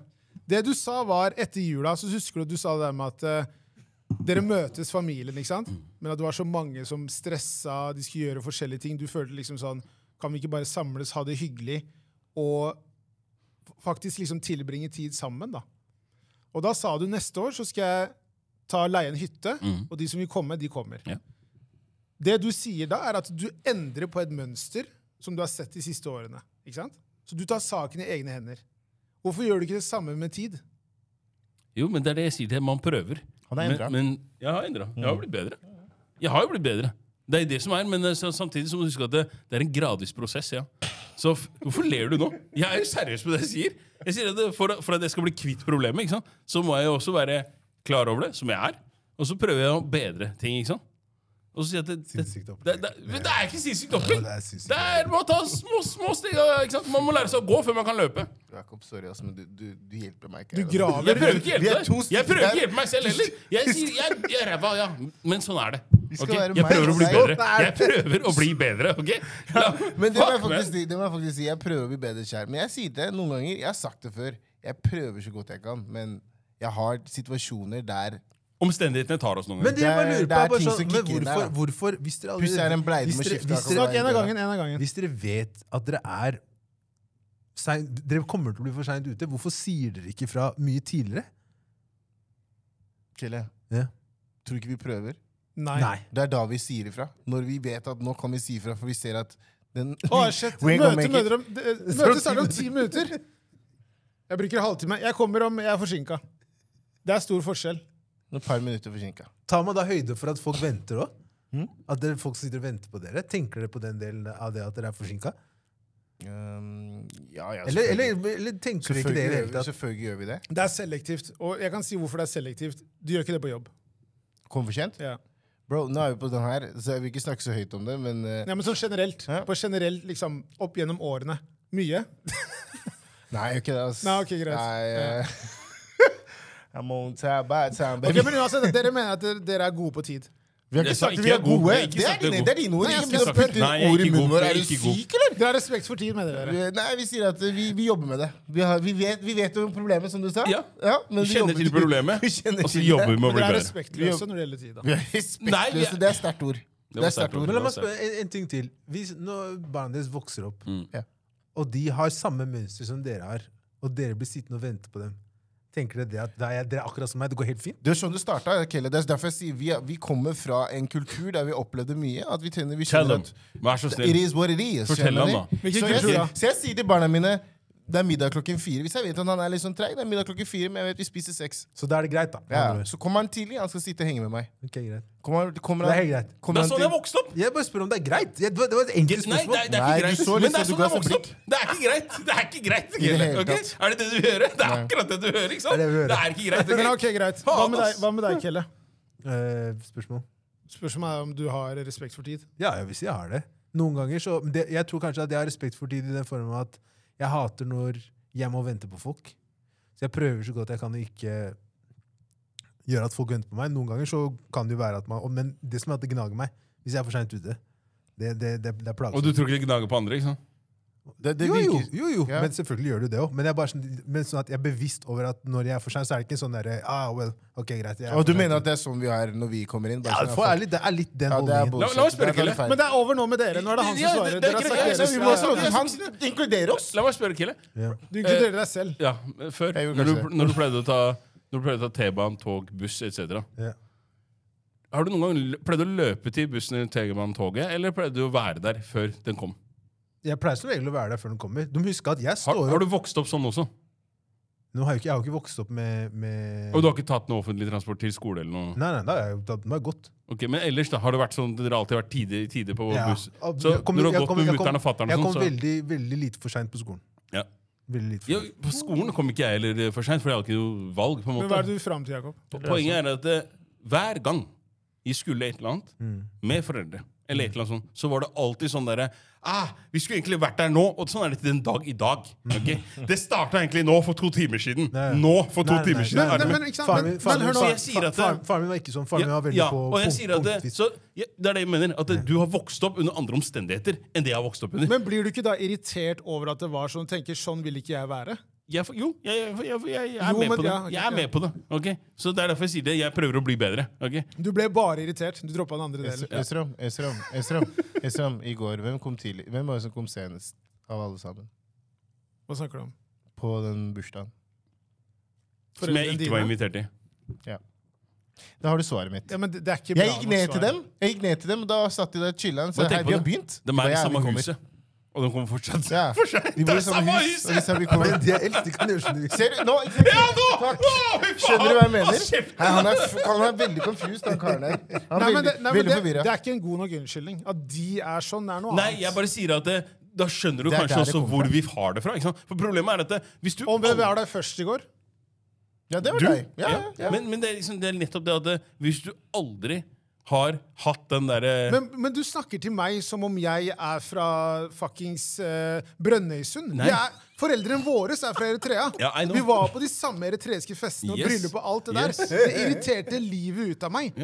S1: Det du sa, var etter jula, så husker du du sa det der med at eh, Dere møtes familien, ikke sant? Men at du har så mange som stressa, de skulle gjøre forskjellige ting. Du følte liksom sånn Kan vi ikke bare samles, ha det hyggelig, og f- faktisk liksom tilbringe tid sammen, da? Og da sa du neste år så skal jeg ta leie en hytte, og de som vil komme, de kommer.
S2: Mm. Ja.
S1: Det du sier da, er at du endrer på et mønster som du har sett de siste årene. Ikke sant? Så du tar saken i egne hender. Hvorfor gjør du ikke det samme med tid?
S2: Jo, men det er det jeg sier til deg. Man prøver.
S3: Han er endret.
S2: Men, men jeg har endra.
S4: Mm.
S2: Jeg har blitt bedre. Jeg har jo blitt bedre. Det er det som er, men det er så- samtidig så må du huske at det, det er en gradvis prosess. ja. Så f hvorfor ler du nå? Jeg er jo seriøs på det jeg sier. Jeg sier at det, for, for at jeg skal bli kvitt problemet, ikke sant? så må jeg jo også være klar over det, som jeg er. Og så prøver jeg å bedre ting. ikke sant? Og så sier jeg at det, det,
S4: Sinnssykt opplegg.
S2: det, det, men det er ikke sinnssykt opplegg!
S4: Ja, det er sinnssykt
S2: Det er, man, tar små, små steg, ikke sant? man må lære seg å gå før man kan løpe.
S3: Jakob, sorry, ass, men du, du, du hjelper meg ikke.
S1: Du
S3: her, ass.
S1: graver
S2: Jeg prøver ikke
S3: Vi
S2: hjelpe
S3: er to
S2: deg. Jeg
S3: stykker
S2: prøver
S3: her.
S2: ikke hjelpe meg selv heller. Jeg sier jeg, jeg er ræva, ja. Men sånn er det.
S3: skal
S2: ok?
S3: være
S2: Jeg
S3: meg
S2: prøver å
S3: og
S2: bli bedre.
S3: deg.
S1: Sånn er
S2: Jeg prøver å bli bedre, OK? La-
S3: Men det må, jeg
S2: fuck,
S3: faktisk,
S2: man.
S3: si- det må jeg faktisk si. Jeg prøver å bli bedre kjær. Men jeg sier det noen ganger. Jeg har sagt det før. Jeg prøver så godt jeg kan, men jeg har situasjoner der
S2: Omstendighetene tar oss noen
S4: Men
S2: ganger.
S4: det jeg bare
S3: Det er-
S4: lurer
S3: det
S4: på,
S3: er
S4: er bare
S3: ting
S4: sånn,
S3: som
S4: men
S3: kicker inn der,
S4: hvorfor,
S3: da.
S4: hvorfor hvis dere
S3: Pluss jeg er en bleide
S4: hvis
S3: med
S4: dere-
S3: skifte,
S4: hvis
S3: da kan
S4: dere-
S1: Snakk en av gangen. en av gangen.
S4: Hvis dere vet at dere er sein, Dere kommer til å bli for seint ute, hvorfor sier dere ikke fra mye tidligere?
S3: Chille.
S4: Ja.
S3: Tror ikke vi prøver.
S1: Nei.
S3: Det er da vi sier ifra. Når vi vet at nå kan vi si ifra, for vi ser at den
S1: Å, shit.
S3: We
S1: Møtet
S3: gonna make it.
S1: møter om, det- møtet starter om ti minutter. Jeg bruker halvtime. Jeg kommer om Jeg er forsinka. Det er stor forskjell.
S3: Et par minutter forsinka.
S4: Tar man da høyde for at folk venter òg?
S3: Hm?
S4: At dere, folk sitter og venter på dere? Tenker dere på den delen av det at dere er forsinka?
S3: Um, ja, ja,
S4: Eller,
S3: selvfølgelig.
S4: eller, eller tenker dere ikke det i
S3: selvfølgelig, gjør
S4: det hele
S3: vi,
S4: tatt?
S3: selvfølgelig gjør vi det.
S1: Det er selektivt. Og jeg kan si hvorfor det er selektivt. Du gjør ikke det på jobb.
S3: Kom for sent.
S1: Ja.
S3: Bro, nå er vi på den her, så jeg vil ikke snakke så høyt om det, men eh,
S1: Nei, men sånn generelt.
S3: Ja.
S1: På generelt, liksom, opp gjennom årene. Mye.
S3: Nei, jeg gjør ikke det, ass.
S1: Nei, ok, greit.
S3: Nei, eh, I'm on time, by time,
S1: Ok,
S3: baby.
S1: men uansett, Dere mener at dere, dere er gode på tid.
S3: Vi har
S2: Jeg
S3: ikke
S2: sa
S3: sagt
S2: ikke
S3: vi
S2: jeg
S3: er
S2: er god.
S3: gode.
S2: Jeg har ikke
S3: Det er
S2: sagt jeg er
S3: dine,
S2: god.
S3: det er dine ord.
S1: Nei, jeg
S3: Ikke
S1: skal
S3: bare
S1: sagt-
S3: putte
S2: Nei, jeg er
S3: ord i
S2: ikke
S3: munnen
S2: god.
S3: vår.
S2: Jeg
S3: Er
S2: er
S3: du
S2: ikke god.
S3: syk, eller?
S1: Dere har respekt for tid, mener dere.
S3: Nei, vi sier at vi, vi jobber med det. Vi, har, vi, vet, vi vet om problemet, som du sa.
S2: Ja.
S3: men
S2: Vi kjenner til problemet,
S3: Vi kjenner
S2: og så
S3: til
S2: jobber vi
S3: det.
S2: med å
S1: Men
S2: bli
S1: dere er
S2: bedre.
S1: respektløse når det gjelder tid. da.
S3: Vi er
S2: Nei, vi er-
S3: respektløse. Det er sterkt ord. Det
S2: var
S3: er sterkt
S2: sterkt ord.
S3: ord.
S4: Men la meg spørre en, en ting til. Hvis, når barna deres vokser opp,
S2: Mm.
S3: Ja.
S4: og de har samme mønster som dere har, og dere blir sittende og vente på dem, tenker dere det at det er, dere er akkurat som meg, det går helt fint?
S3: Det er sånn du starta. Kelle. Det er derfor jeg sier vi, er- vi kommer fra en kultur der vi opplevde mye. At vi trener, vi
S2: Tell them.
S3: skjønner at
S2: Vær så
S3: It
S2: snill.
S3: is what it is.
S2: Fortell
S3: skjønner
S2: ham,
S3: du?
S2: da.
S1: Hvilken
S3: Så jeg,
S1: kultur, da?
S3: så jeg sier til barna mine det er middag klokken fire. Hvis jeg vet at han er litt sånn treig, det er middag klokken fire, men jeg vet vi spiser seks.
S4: Så da er det greit, da. med andre
S3: Ja.
S4: ord.
S3: Så kommer han tidlig, han skal sitte og henge med meg.
S4: Ok, greit.
S3: Kommer, han- kommer
S4: Det er
S3: han,
S4: helt greit.
S3: kommer
S2: Det er
S3: han
S2: sånn
S3: til-
S2: jeg vokste opp.
S4: Jeg bare spør om det er greit. Jeg, det var det var et
S2: Nei,
S4: enkelt
S2: det
S4: spørsmål.
S2: er, det er
S3: Nei,
S2: ikke greit.
S3: du så litt
S2: Men det
S3: så
S2: er
S3: du
S2: sånn
S3: ga
S2: jeg vokste
S3: seg
S2: opp. Det er ikke greit. Det er ikke greit.
S3: det hele
S2: ok?
S3: tatt.
S2: Er det det du vil gjøre? Det er akkurat det du hører. ikke sant?
S4: Det er det vi hører.
S2: Det er ikke greit.
S1: Men
S2: ok?
S1: ok, greit. Hva med deg, hva med deg Kelle?
S4: Eh, spørsmål.
S1: Spørsmålet er om du har respekt for tid.
S4: Ja, jeg vil si jeg har det. Noen ganger så men det, Jeg tror kanskje at jeg har respekt for tid i den form at jeg hater når jeg må vente på folk. Så jeg prøver så godt jeg kan å ikke gjøre at folk venter på meg. Noen ganger så kan det jo være at man og- Men det som er at det gnager meg hvis jeg er for seint ute. Det, det, det, det er
S2: Og du
S4: plagsomt.
S2: tror ikke det gnager på andre? ikke sant?
S3: Det, det
S4: Jo, jo,
S3: virker.
S4: jo, jo.
S3: Ja.
S4: men selvfølgelig gjør du det òg. Men, jeg er bare sånn, men sånn at jeg er bevisst over at når jeg er for sein, så er det ikke en sånn derre ah, well, ok, greit. Jeg er
S3: Og
S4: for
S3: du
S4: sent
S3: mener
S4: ute».
S3: at det er sånn vi er når vi kommer inn? Bare
S4: ja,
S3: sånn,
S4: for ærlig, Det er litt den
S3: Ja, det er
S4: holdningen.
S3: bullshit.
S2: La- la meg spørre,
S3: Det er
S2: Kelle.
S3: feil.
S1: Men det er over nå med dere. Nå er det han
S2: Ja,
S1: som
S2: det-
S1: svarer.
S2: det er
S1: Dere
S2: ikke
S1: har sagt
S2: greit.
S3: Så
S1: deres.
S3: vi må
S1: Ja,
S3: også-
S1: ja.
S3: Han inkluderer oss!
S2: La meg spørre, Kille.
S4: Ja.
S1: Du inkluderer deg selv.
S2: Ja, eh, før.
S3: Jeg gjorde
S2: Når du,
S3: kanskje det.
S2: når du pleide å ta når du pleide å ta T-banen, tog, buss etc.
S4: Ja.
S2: Har du noen gang l- pleid å løpe til bussen eller T-banen, toget, eller pleide du å være der før den kom?
S4: Jeg pleier som regel å være der før den kommer. De husker at jeg
S2: Har,
S4: står opp.
S2: har du vokst opp sånn også?
S4: Nå har jeg, ikke, jeg har jo ikke vokst opp med, med...
S2: Og du har ikke tatt noe offentlig transport til skole eller noe?
S4: Nei, nei, da har jeg, jo- da, nå har jeg gått.
S2: Ok, Men ellers, da? Har det vært sånn, dere har alltid vært tidlig i tide på
S4: Ja.
S2: buss?
S4: Og
S2: Så
S4: jeg kom-
S2: når du
S4: jeg
S2: har gått
S4: kom-
S2: med
S4: jeg kom-
S2: mutter'n og fatter'n
S4: Jeg
S2: og
S4: kom
S2: sånn,
S4: veldig, veldig lite for seint på skolen.
S2: så ja.
S4: Veldig lite for
S2: Ja,
S4: sent.
S2: På skolen kom ikke jeg heller eh, for seint, for jeg hadde ikke noe valg. på en
S1: Men hva er
S2: måte.
S1: det du fram til, Jakob?
S2: Po- Poenget er at eh, hver gang vi skulle et eller annet med foreldre, eller et eller annet sånt, så var det alltid sånn derre ah, Vi skulle egentlig vært der nå, og sånn er det til den dag i dag. ok? Det starta egentlig nå, for to timer siden.
S4: Nei.
S2: Nå, for to
S4: Nei, nei,
S2: timer siden.
S1: Nei,
S2: er det-
S1: men ikke sant?
S4: Faren
S1: Men-
S4: min, faren,
S1: men hør
S4: min,
S1: nå,
S4: faren,
S2: jeg sier at det-
S4: faren, faren min var ikke sånn. Faren min var veldig
S2: ja,
S4: på
S2: og jeg
S4: punkt-
S2: sier at det,
S4: punktvis.
S2: så, ja, det er det jeg mener. At det- du har vokst opp under andre omstendigheter enn det jeg har vokst opp under.
S1: Men blir du ikke da irritert over at det var sånn? Tenker sånn vil ikke jeg være?
S2: Jeg, for- jo, jeg, jeg, jeg, jeg, jeg er
S1: Jo,
S2: med
S1: men
S2: på det.
S1: ja, ok,
S2: jeg er
S1: ja.
S2: med på det. ok? Så det er derfor jeg sier det. Jeg prøver å bli bedre. ok?
S1: Du ble bare irritert. Du droppa den andre delen.
S3: Esrom, Esrom, Esrom, Esrom, i går, hvem, kom tidlig, hvem var det som kom senest av alle sammen?
S1: Hva snakker du om?
S3: På den bursdagen.
S2: Som jeg
S1: Foreldrene
S2: ikke var
S1: dine?
S2: invitert til.
S3: Da har du svaret mitt.
S1: Ja, men det, det er ikke bra
S3: Jeg gikk
S1: nok
S3: ned
S1: svar.
S3: til dem, jeg gikk ned til dem, og da satt de der og chilla. Så
S2: Men tenk
S3: her,
S2: på
S3: vi har
S2: det.
S3: begynt.
S2: De er i
S3: Ja, vi
S2: samme
S3: kommer.
S2: huset. Og de kommer fortsatt.
S3: Ja. De
S2: Det
S3: bor
S2: er
S3: i samme
S2: samme
S3: hus.
S2: huset.
S3: Og de sa vi kommer.
S4: Men de er eldre, kan gjøre som de vil.
S3: Ser du? Nå, ikke sant?
S2: Ja, nå!
S3: Takk.
S2: Å, fy faen!
S3: Skjønner du hva jeg mener?
S2: Hold kjeft!
S3: Nei, han, er, f- han er veldig confused, han karen der. Han
S1: Nei,
S3: er
S1: men det,
S3: veldig,
S1: nei, men
S3: veldig
S1: det, det
S3: forvirra.
S1: er ikke en god nok unnskyldning. At de er sånn, det er noe
S2: Nei,
S1: annet.
S2: jeg bare sier at det, da skjønner du
S3: Det er
S2: kanskje
S3: der det
S2: også
S3: kommer
S2: hvor
S3: fra.
S2: vi har det fra. ikke sant? For problemet er at det, hvis du...
S1: Og hvem var der først i går?
S3: Ja, det var
S2: Du?
S3: deg. Ja,
S2: Ja,
S3: ja.
S2: Men, men det, er liksom, det er nettopp det at det, hvis du aldri har hatt den eh, derre
S1: Men, men du snakker til meg som om jeg er fra fuckings eh, Brønnøysund.
S2: Nei.
S1: Vi er, foreldrene våre er fra Eritrea.
S2: Ja, I know.
S1: Vi var på de samme eritreiske festene og
S2: Yes.
S1: bryllup og alt det der.
S2: Yes.
S1: Det irriterte livet ut av meg.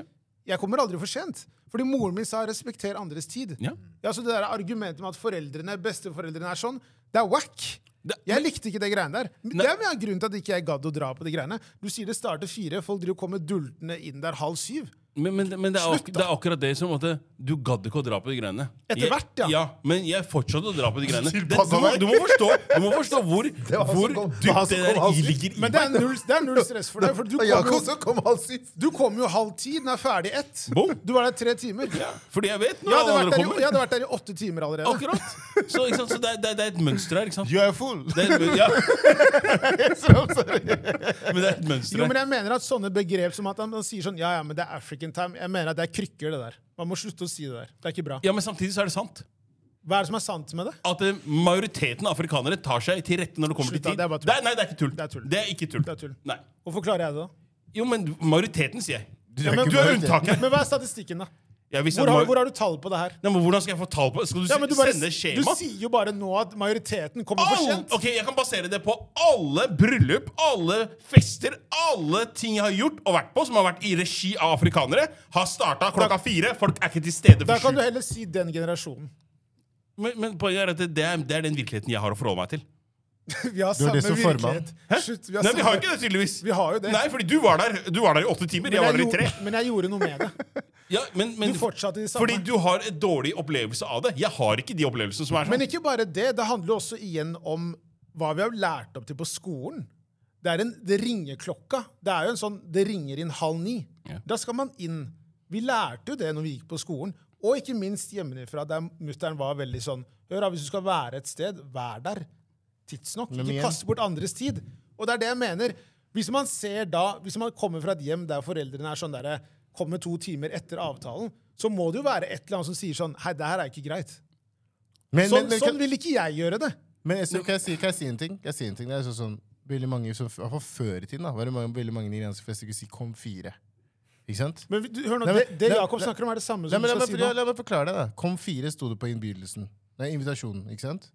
S1: Jeg kommer aldri for sent. Fordi moren min sa 'respekter andres tid'.
S2: Ja.
S1: så Det der argumentet med at foreldrene, besteforeldrene er sånn, det er whack.
S2: Det-
S1: Jeg likte ikke det greiene der.
S2: Nei.
S1: Det er mye av grunnen til at ikke jeg gadd å dra på de greiene. Du sier det starter fire, folk driver og kommer dultende inn der halv syv.
S2: Men, men, men det, er
S1: Slutt,
S2: ak det er akkurat det som at det- du gadd ikke å dra på de greiene.
S1: Etter
S2: Jeg-
S1: hvert, ja.
S2: ja. Men jeg fortsatte å dra på de greiene. Det, du,
S3: Tilpassa
S2: må-
S3: deg.
S2: du, må forstå, du må forstå hvor,
S4: var han som
S2: hvor
S4: kom.
S2: dypt
S4: Det var
S2: det
S4: han som
S2: der
S4: kom, han
S2: i
S4: som-
S2: ligger i
S1: Men det er null, det er null stress for deg. For du
S4: Og
S1: kommer
S4: Jakob
S1: jo,
S4: så kom halv syv.
S1: du kom jo halv ti, den er ferdig ett.
S2: Boom.
S1: Du var der tre timer.
S2: Ja, fordi jeg vet når
S1: Jeg hadde,
S2: alle
S1: vært
S2: andre
S1: der i,
S2: kommer.
S1: jeg hadde vært der i åtte timer allerede.
S2: Akkurat. Så, ikke sant? så det, er- det, er- det er et mønster her, ikke sant?
S3: You are a fool.
S2: Det er, et mø- ja,
S3: Esrom, sorry.
S2: men det er et mønster
S1: Jo, men
S2: her.
S1: jeg mener at sånne begrep som at han han sier sånn Ja, ja, men det er African time. Jeg mener at det er krykker, det der. Man må slutte å si det der. Det er ikke bra.
S2: Ja, men samtidig så er det sant.
S1: Hva er det som er sant med det?
S2: At eh, majoriteten av afrikanere tar seg til rette når det kommer
S1: Slutt, da,
S2: til tid.
S1: det er bare tull.
S2: Det er, nei, det er ikke tull.
S1: Det er tull.
S2: ikke tull.
S1: Det er tull.
S2: Nei.
S1: Hvorfor klarer jeg det, da?
S2: Jo, men majoriteten, sier jeg. Du
S1: Ja,
S2: er,
S1: men-
S2: ikke du er unntaket.
S1: Men hva er statistikken, da?
S2: Ja, hvis jeg
S1: Hvor har,
S2: ma-
S1: hvor har du tall på det her?
S2: Nei, men hvordan skal jeg få tall på det? Skal du,
S1: Ja, men
S2: si-
S1: du, bare,
S2: sende
S1: du
S2: skjema?
S1: sier jo bare nå at majoriteten kommer for
S2: Alle,
S1: sent.
S2: ok, Jeg kan basere det på alle bryllup, alle fester, alle ting jeg har gjort og vært på som har vært i regi av afrikanere. Har starta klokka fire. Folk er ikke til stede
S1: Da
S2: for
S1: kan du
S2: sju.
S1: heller si den generasjonen.
S2: Men, men poenget er at det, det, er, det er den virkeligheten jeg har å forholde meg til.
S1: Vi har samme
S3: det som formann.
S1: virkelighet. Slutt, vi har
S2: Nei, Vi har
S1: samme-
S2: ikke det, tydeligvis.
S1: Vi har jo det.
S2: Nei, fordi du var der, du var der i åtte timer. Jeg
S1: Men
S2: var der i
S1: gjorde-
S2: tre.
S1: Men jeg gjorde noe med det.
S2: Ja, men, men,
S1: Du fortsatte i det samme.
S2: fordi du har en dårlig opplevelse av det. Jeg har ikke de opplevelsene som er
S1: Men
S2: sånn.
S1: ikke bare det. Det handler også igjen om hva vi har lært opp til på skolen. Det er en det ringeklokka. Det er jo en sånn Det ringer inn halv ni.
S2: Ja.
S1: Da skal man inn. Vi lærte jo det når vi gikk på skolen. Og ikke minst hjemmefra, der mutter'n var veldig sånn Hør, da, hvis du skal være et sted, vær der tidsnok.
S3: Men igjen-
S1: Ikke kaste bort andres tid. Og det er det jeg mener. Hvis man ser da, hvis man kommer fra et hjem der foreldrene er sånn derre Kommer to timer etter avtalen, så må det jo være et eller annet som sier sånn Hei, det her er ikke greit.
S3: Men,
S1: Sånn,
S3: men, men,
S1: sånn
S3: kan,
S1: vil ikke jeg gjøre det.
S3: men Esrom, kan, jeg si, kan jeg si en ting? Kan jeg si en ting? Det er sånn, sånn veldig mange, som, i hvert fall før i tiden, da, var det mange, veldig mange nigerianske fester kunne si 'kom fire'. Ikke sant?
S1: Men vi- du, hør nå,
S3: Nei, men-
S1: Det, det
S3: nei,
S1: Jakob
S3: nei,
S1: snakker om, er det samme
S3: Nei,
S1: som
S3: men
S1: du
S3: la,
S1: skal
S3: meg,
S1: si
S3: la,
S1: nå.
S3: la meg forklare deg, da. Kom fire sto det på innbydelsen. Nei, invitasjonen, ikke sant?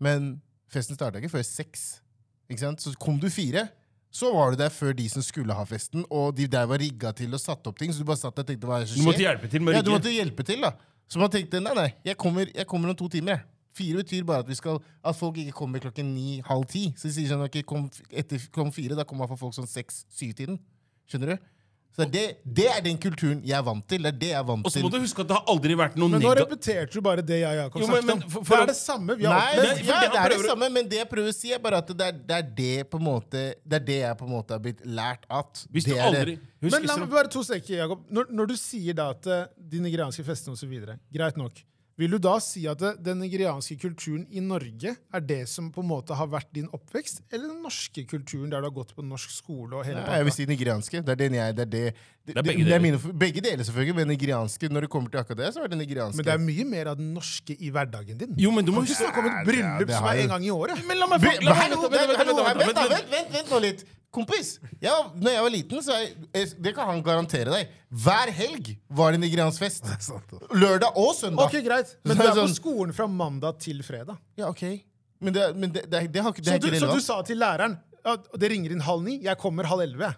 S3: Men festen starta ikke før seks. Ikke sant? Så kom du fire, så var du der før de som skulle ha festen, og de der var rigga til og satt opp ting, så du bare satt der og tenkte hva er det som
S2: Du måtte
S3: skjer?
S2: hjelpe til med
S3: Ja, du
S2: rigget.
S3: måtte hjelpe til, da. Så man tenkte nei, nei, jeg kommer, jeg kommer om to timer. jeg. Fire betyr bare at, vi skal, at folk ikke kommer klokken ni, halv ti. Så de sier sånn ok, kom, f- etter kom fire, da kommer i hvert fall folk sånn seks-syv-tiden. Skjønner du? Så det, det er den kulturen jeg er vant til. Det er det jeg er vant
S2: Og så
S3: til.
S2: må du huske at det har aldri vært noe
S1: Men nå
S2: negativt
S1: repeterte du bare det jeg og Jakob
S2: Jo, men-
S1: snakket om.
S2: men for- for
S1: det
S2: å-
S1: er det samme vi har
S3: Nei,
S1: opplevd.
S3: det,
S2: det-
S3: ja,
S2: det-
S3: det
S2: prøver-
S3: er det samme, men det jeg prøver å si, er bare at det er det, er det på en måte Det er det jeg på en måte har blitt lært at.
S2: Hvis du
S3: det er
S2: aldri
S3: det.
S2: Husk
S1: Men
S2: liksom-
S1: la
S2: Israel.
S1: meg bare to stekker, Jakob. Når, når du sier da at eh, de nigerianske festene og så videre, greit nok, vil du da si at eh, den nigerianske kulturen i Norge er det som på en måte har vært din oppvekst, eller den norske kulturen der du har gått på norsk skole og hele
S3: Nei, jeg
S1: pakka?
S3: vil si nigerianske. Det er den jeg Det er det, det,
S2: er
S3: det,
S2: begge
S3: det
S2: deler.
S3: er mine, begge deler, selvfølgelig, men nigerianske Når det kommer til akkurat det, så er det nigerianske.
S1: Men det er mye mer av den norske i hverdagen din.
S2: Jo, men du må
S1: Du
S2: huske
S1: snakker om et
S3: det
S1: bryllup som
S3: har
S1: er
S3: jeg-
S1: en gang i året.
S2: Men la meg
S3: Bry-
S2: la meg-
S3: Hallo,
S2: vent, vent,
S3: hallo,
S2: vent,
S3: Vent, da,
S2: vent, vent.
S3: vent, vent, vent nå litt. Kompis, ja, når jeg var liten, så jeg, jeg- det kan han garantere deg. Hver helg var det nigeriansk fest. Lørdag og søndag.
S1: Ok, greit. Men
S3: Så
S1: du
S3: er
S1: er på
S3: sånn-
S1: skolen fra mandag til fredag.
S3: Ja, ok. Men det, er- men det, det, er- det har ikke, det
S1: Så
S3: er
S1: du,
S3: ikke
S1: så du
S3: relevant.
S1: sa til læreren at det ringer inn halv ni, jeg kommer halv elleve.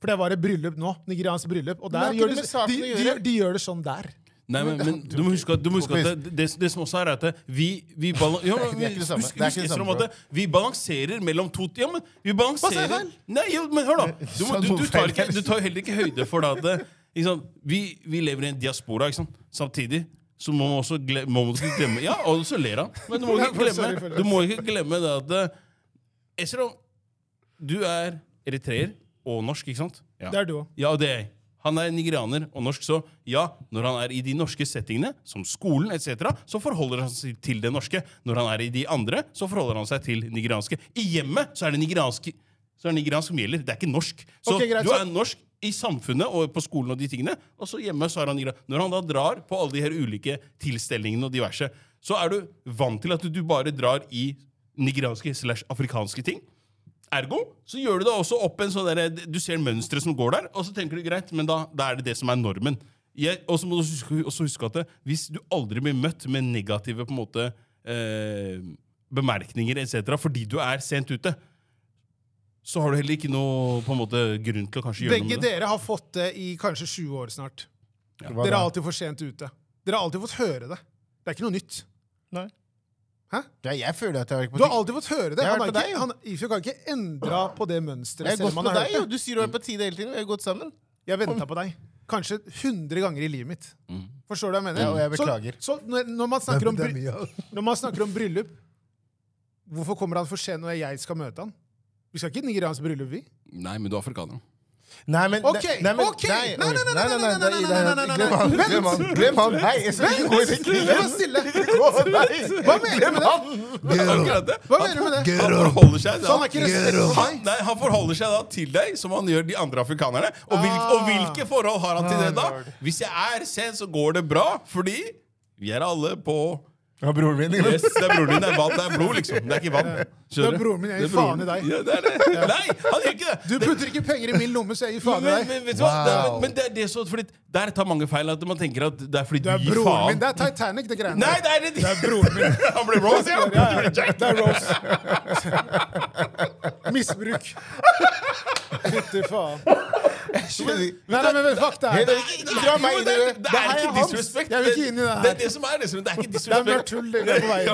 S1: For det var et bryllup nå. Nigeriansk bryllup. Og
S3: det har
S1: der
S3: ikke
S1: gjør de,
S3: det med saken
S1: de,
S3: å
S1: de,
S3: gjøre.
S1: de gjør det sånn der.
S2: Nei, men, men du må huske at, du må huske at det, det, det som også er, er at det- vi, vi, balan ja, men,
S3: Det er ikke det samme.
S2: husk-
S3: Det er
S2: husk
S3: ikke det
S2: Esrom,
S3: samme,
S2: at det- vi balanserer mellom to Ja, men vi
S3: jeg
S2: balanserer
S3: feil?
S2: Nei, jo, men hør, da! Du, må, du, du, tar ikke,
S3: Sa jeg
S2: du tar heller ikke høyde for det at det, ikke sant? Vi, vi lever i en diaspora, ikke sant? Samtidig så må man også glemme, må man ikke glemme Ja, og så ler han. Men du må ikke
S1: Sorry for
S2: glemme,
S1: det.
S2: du må ikke glemme det at eh, Esrom, du er eritreer og norsk, ikke sant? Ja.
S1: Det er du òg.
S2: Ja, og det er jeg. Han er nigerianer og norsk, så ja, når han er i de norske settingene, som skolen etc., så forholder han seg til det norske. Når han er i de andre, så forholder han seg til nigerianske. I hjemmet så er det nigeriansk, så er det nigeriansk som gjelder. Det er ikke norsk. Så
S1: Ok, greit,
S2: du
S1: så-
S2: er norsk i samfunnet og på skolen og de tingene, og så hjemme så er han nigeriansk. Når han da drar på alle de her ulike tilstelningene og diverse, så er du vant til at du bare drar i nigerianske slash afrikanske ting. Ergo så gjør du det også opp en sånn der, Du ser mønsteret som går der, og så tenker du greit, men da, da er det det som er normen. Jeg, og så må du også huske, også huske at det, hvis du aldri blir møtt med negative på en måte eh, bemerkninger etc. fordi du er sent ute, så har du heller ikke noe på en måte grunn til å kanskje gjøre
S1: Begge
S2: noe med det.
S1: dere har fått det i kanskje 20 år snart.
S3: Hva
S1: Dere
S3: da?
S1: er alltid for sent ute. Dere har alltid fått høre det. Det er ikke noe nytt.
S3: Nei.
S1: Hæ?
S3: Ja, jeg føler at jeg har vært på
S1: Du har alltid fått høre det.
S3: Jeg har
S1: Han har
S3: hørt på
S1: ikke,
S3: deg, jo.
S1: han, Ifjord kan ikke endre på det
S3: Jeg har
S1: mønsteret. selv
S3: gått
S1: om
S3: på
S1: han har
S3: deg, jo.
S1: hørt det.
S3: Du sier du er på tide hele tiden. Vi har gått sammen.
S1: Jeg venta på deg. Kanskje 100 ganger i livet mitt. Forstår du hva jeg mener?
S3: Mm. Ja, og jeg beklager.
S1: Så, så når, når, man
S4: Det
S1: snakker
S4: er,
S1: om
S4: det er
S1: bry,
S4: mye av
S1: når man snakker om bryllup Hvorfor kommer han for sent når jeg skal møte han? Vi skal ikke i nigeriansk bryllup, vi.
S2: Nei, men du er afrikaner.
S3: Nei, men
S1: Ok,
S3: nei, nei, men-
S1: ok.
S3: Nei,
S1: Nei,
S3: oi.
S1: nei, nei,
S3: nei, nei, nei, nei, nei, nei, nei. Glem han!
S1: Vent.
S3: Glem han! Glem han. Nei, jeg skal ikke gå i den
S1: Vær
S3: krigen!
S1: stille!
S3: Å, nei.
S1: Hva mener du med det?
S4: det.
S2: Akkurat det.
S1: Hva mener du med det?
S2: Han forholder seg
S1: Så han har ikke respekt for
S2: han,
S1: meg?
S2: nei, han forholder seg da til deg som han gjør de andre afrikanerne. Og, hvil,
S1: Ah.
S2: og hvilke forhold har han til det da? Hvis jeg er sen, så går det bra, fordi vi er alle på
S3: Ja, broren min.
S2: yes, Det er broren din, det er vann, det er blod, liksom. Det er ikke vann.
S1: Det
S2: Skjønner
S1: er
S2: du?
S1: broren min, jeg gir
S2: Det er broren-
S1: faen i deg.
S2: Ja, det er det. Nei, han gjør ikke det.
S1: Du putter ikke penger i min lomme, så jeg gir faen i
S2: Men,
S1: deg.
S2: men, vet du hva?
S3: Wow.
S2: Det er, men, men det er det så, fordi Der tar mange feil. At man tenker at det er fordi
S1: Du
S2: du,
S1: er
S2: gir
S1: broren min.
S2: faen.
S1: Det er Titanic, det greiene
S2: Nei,
S1: der.
S2: det er, det er broren min. Han ble Rose, ja.
S1: Det er Rose. Misbruk. Fytti faen. Nei, nei, men fuck det her.
S3: Ikke ikke dra meg
S2: Jo,
S3: inn
S2: det er,
S3: i det.
S2: det
S1: Det
S2: er
S1: her er
S2: ikke
S1: hans.
S2: disrespect.
S1: Jeg vil ikke inn i det her.
S2: Det er det som er liksom. Det er ikke
S1: Det er mørkt
S2: disrespect.
S1: hull det går på veien.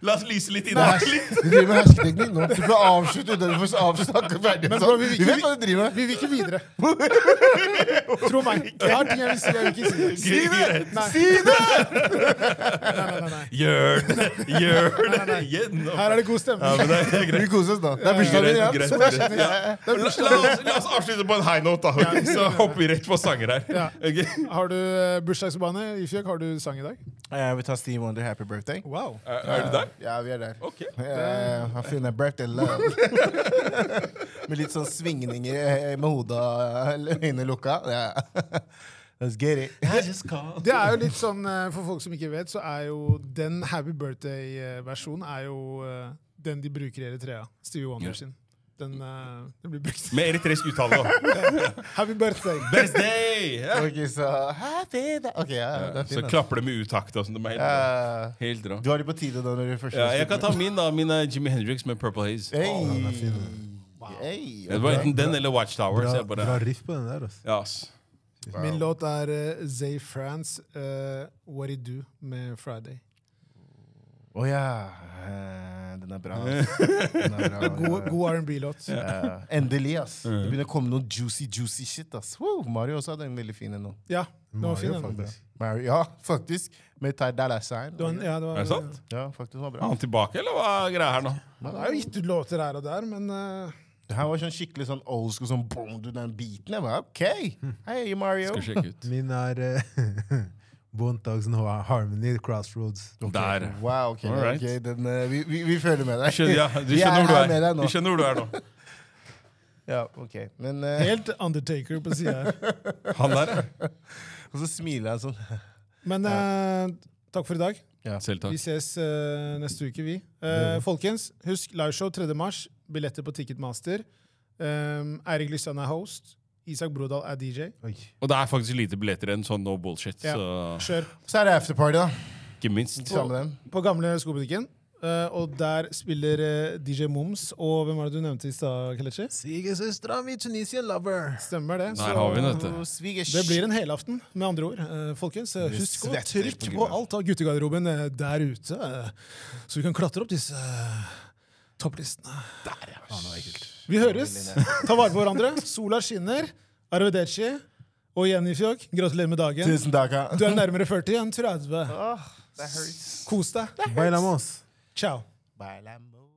S2: La oss lyse litt inn her. Litt.
S3: Du driver med hersketeknikk nå. Du får avslutte uten å snakke ferdig.
S1: Men
S3: sånn.
S1: bro, vi vil
S3: Du
S1: ikke-
S3: vet hva du driver med.
S1: Vi vil ikke videre. Tro meg. Jeg har ting jeg vil si, jeg vil ikke si det.
S2: Si det!
S1: Nei. Nei, nei, nei.
S2: Gjør det! Gjør
S1: Nei, nei,
S2: det!
S1: nei.
S2: Gjennom
S1: Her er det god
S2: Ja,
S1: stemning.
S2: men det er greit.
S3: Vi koser oss, da. Det er bursdagen min, ja.
S2: Greit,
S3: Så
S2: greit,
S3: jeg
S2: greit.
S3: skjønner.
S2: Ja. La, la, oss, la oss avslutte på en high note, da. ok? Så hopper vi rett på sanger her.
S1: Ja.
S2: Ok?
S1: Har du eh, bursdagsbane? Ifjøk, har du sang i dag?
S3: Eh, Vi tar Steve Wonder Happy Birthday.
S1: Wow.
S2: Er, er du der?
S3: Ja, vi er der.
S2: Ok.
S3: Eh, I'm feeling a birthday love. med litt sånn svingninger eh, med hodet og øynene lukka. Ja. Let's get it.
S1: Det er jo litt sånn, eh, For folk som ikke vet, så er jo den Happy Birthday-versjonen er jo eh, den de bruker i Eritrea. Stevie Wonder
S2: Ja.
S1: sin. Den, eh, den blir brukt.
S2: Med eritreisk uttale, da.
S1: Happy Birthday!
S2: Best day! Ja.
S3: Ok, så happy da. Ok, ja, det er
S2: Så
S3: fint. da.
S2: klapper det med utakt. og sånn, Det er helt, bra.
S3: Ja.
S2: helt bra.
S3: Du har det på tide da når du først
S2: Ja, jeg kan ta min, da. Min er Jimmy Hendrix med Purple Haze.
S3: Hey.
S2: Det var enten den eller Watchtower. Så
S4: Bra,
S2: jeg
S4: bra
S2: bare,
S4: riff på den der. Altså.
S2: ja, ass.
S1: Min låt er eh, Zay France, eh, What It Do med Friday.
S3: Å ja. Eh, Den er bra. ass. Den er bra.
S1: God, god R&B-låt.
S3: Ja. Endelig, ass.
S2: Mm.
S3: Det begynner å komme noe juicy, juicy shit, ass. Woo, Mario også hadde en veldig fin en nå.
S1: Ja, den var fin. den.
S4: Mario, faktisk.
S3: Mario, ja, faktisk. Med Ty Dalla Sign.
S1: Det var en- Ja, det, var,
S2: Er det sant?
S3: Ja, faktisk den var bra.
S2: Er han tilbake, eller hva er greia her nå?
S1: Det er jo gitt ut låter her og der, men eh,
S3: Det her var sånn skikkelig sånn old school, sånn boom, du, den biten. Jeg bare, ok, hei Mario.
S2: Skal sjekke ut.
S4: Min er eh, Bone Thugs and Har- Harmony Crossroads.
S2: Der.
S3: Wow, ok,
S2: All right.
S3: ok, den, eh, vi, vi, vi føler med deg.
S2: Skjønner, ja, du
S3: Vi
S2: skjønner
S3: er
S2: hvor
S3: her
S2: du
S3: med
S2: er.
S3: deg
S2: Du
S3: nå.
S2: skjønner hvor du er nå.
S3: Ja, ok. Men, eh,
S1: helt Undertaker på sida her.
S2: Han der, ja.
S3: og så smiler jeg sånn.
S1: Men eh, takk for i dag.
S2: Selv
S1: Vi
S2: takk.
S1: ses eh, neste uke, vi. Eh, folkens, husk liveshow 3. mars. Billetter på Ticketmaster. Um, Eirik Lysand er host. Isak Brodal er DJ.
S4: Oi.
S2: Og det er faktisk lite billetter enn sånn no bullshit,
S1: Ja.
S2: så
S1: Kjør
S3: Så er det afterparty da,
S2: ikke minst.
S3: sammen med dem.
S1: på gamle skobutikken. eh, og der spiller eh, DJ Moms. Og hvem var det du nevnte i stad, Kelechi?
S4: Svigersøstera mi, Tunisian lover.
S1: Stemmer det.
S2: Der har vi den, vet du.
S3: Svigers.
S1: Det blir en helaften, med andre ord. eh, folkens, Eh,
S3: Vi
S1: husk å
S3: svetter
S1: trykk
S3: på
S1: på,
S3: gulvet.
S1: alt av guttegarderoben eh, der ute, eh, så vi kan klatre opp disse eh, topplistene. Vi høres. Ta vare på hverandre. Sola skinner. Arvedeci og Jenny Fjok, gratulerer med dagen.
S3: Tusen takk. ja.
S1: Du er nærmere 40 enn 30.
S3: That hurts.
S1: Kos deg.
S4: Bailamos.
S1: Ciao.
S3: Bye, Lambo.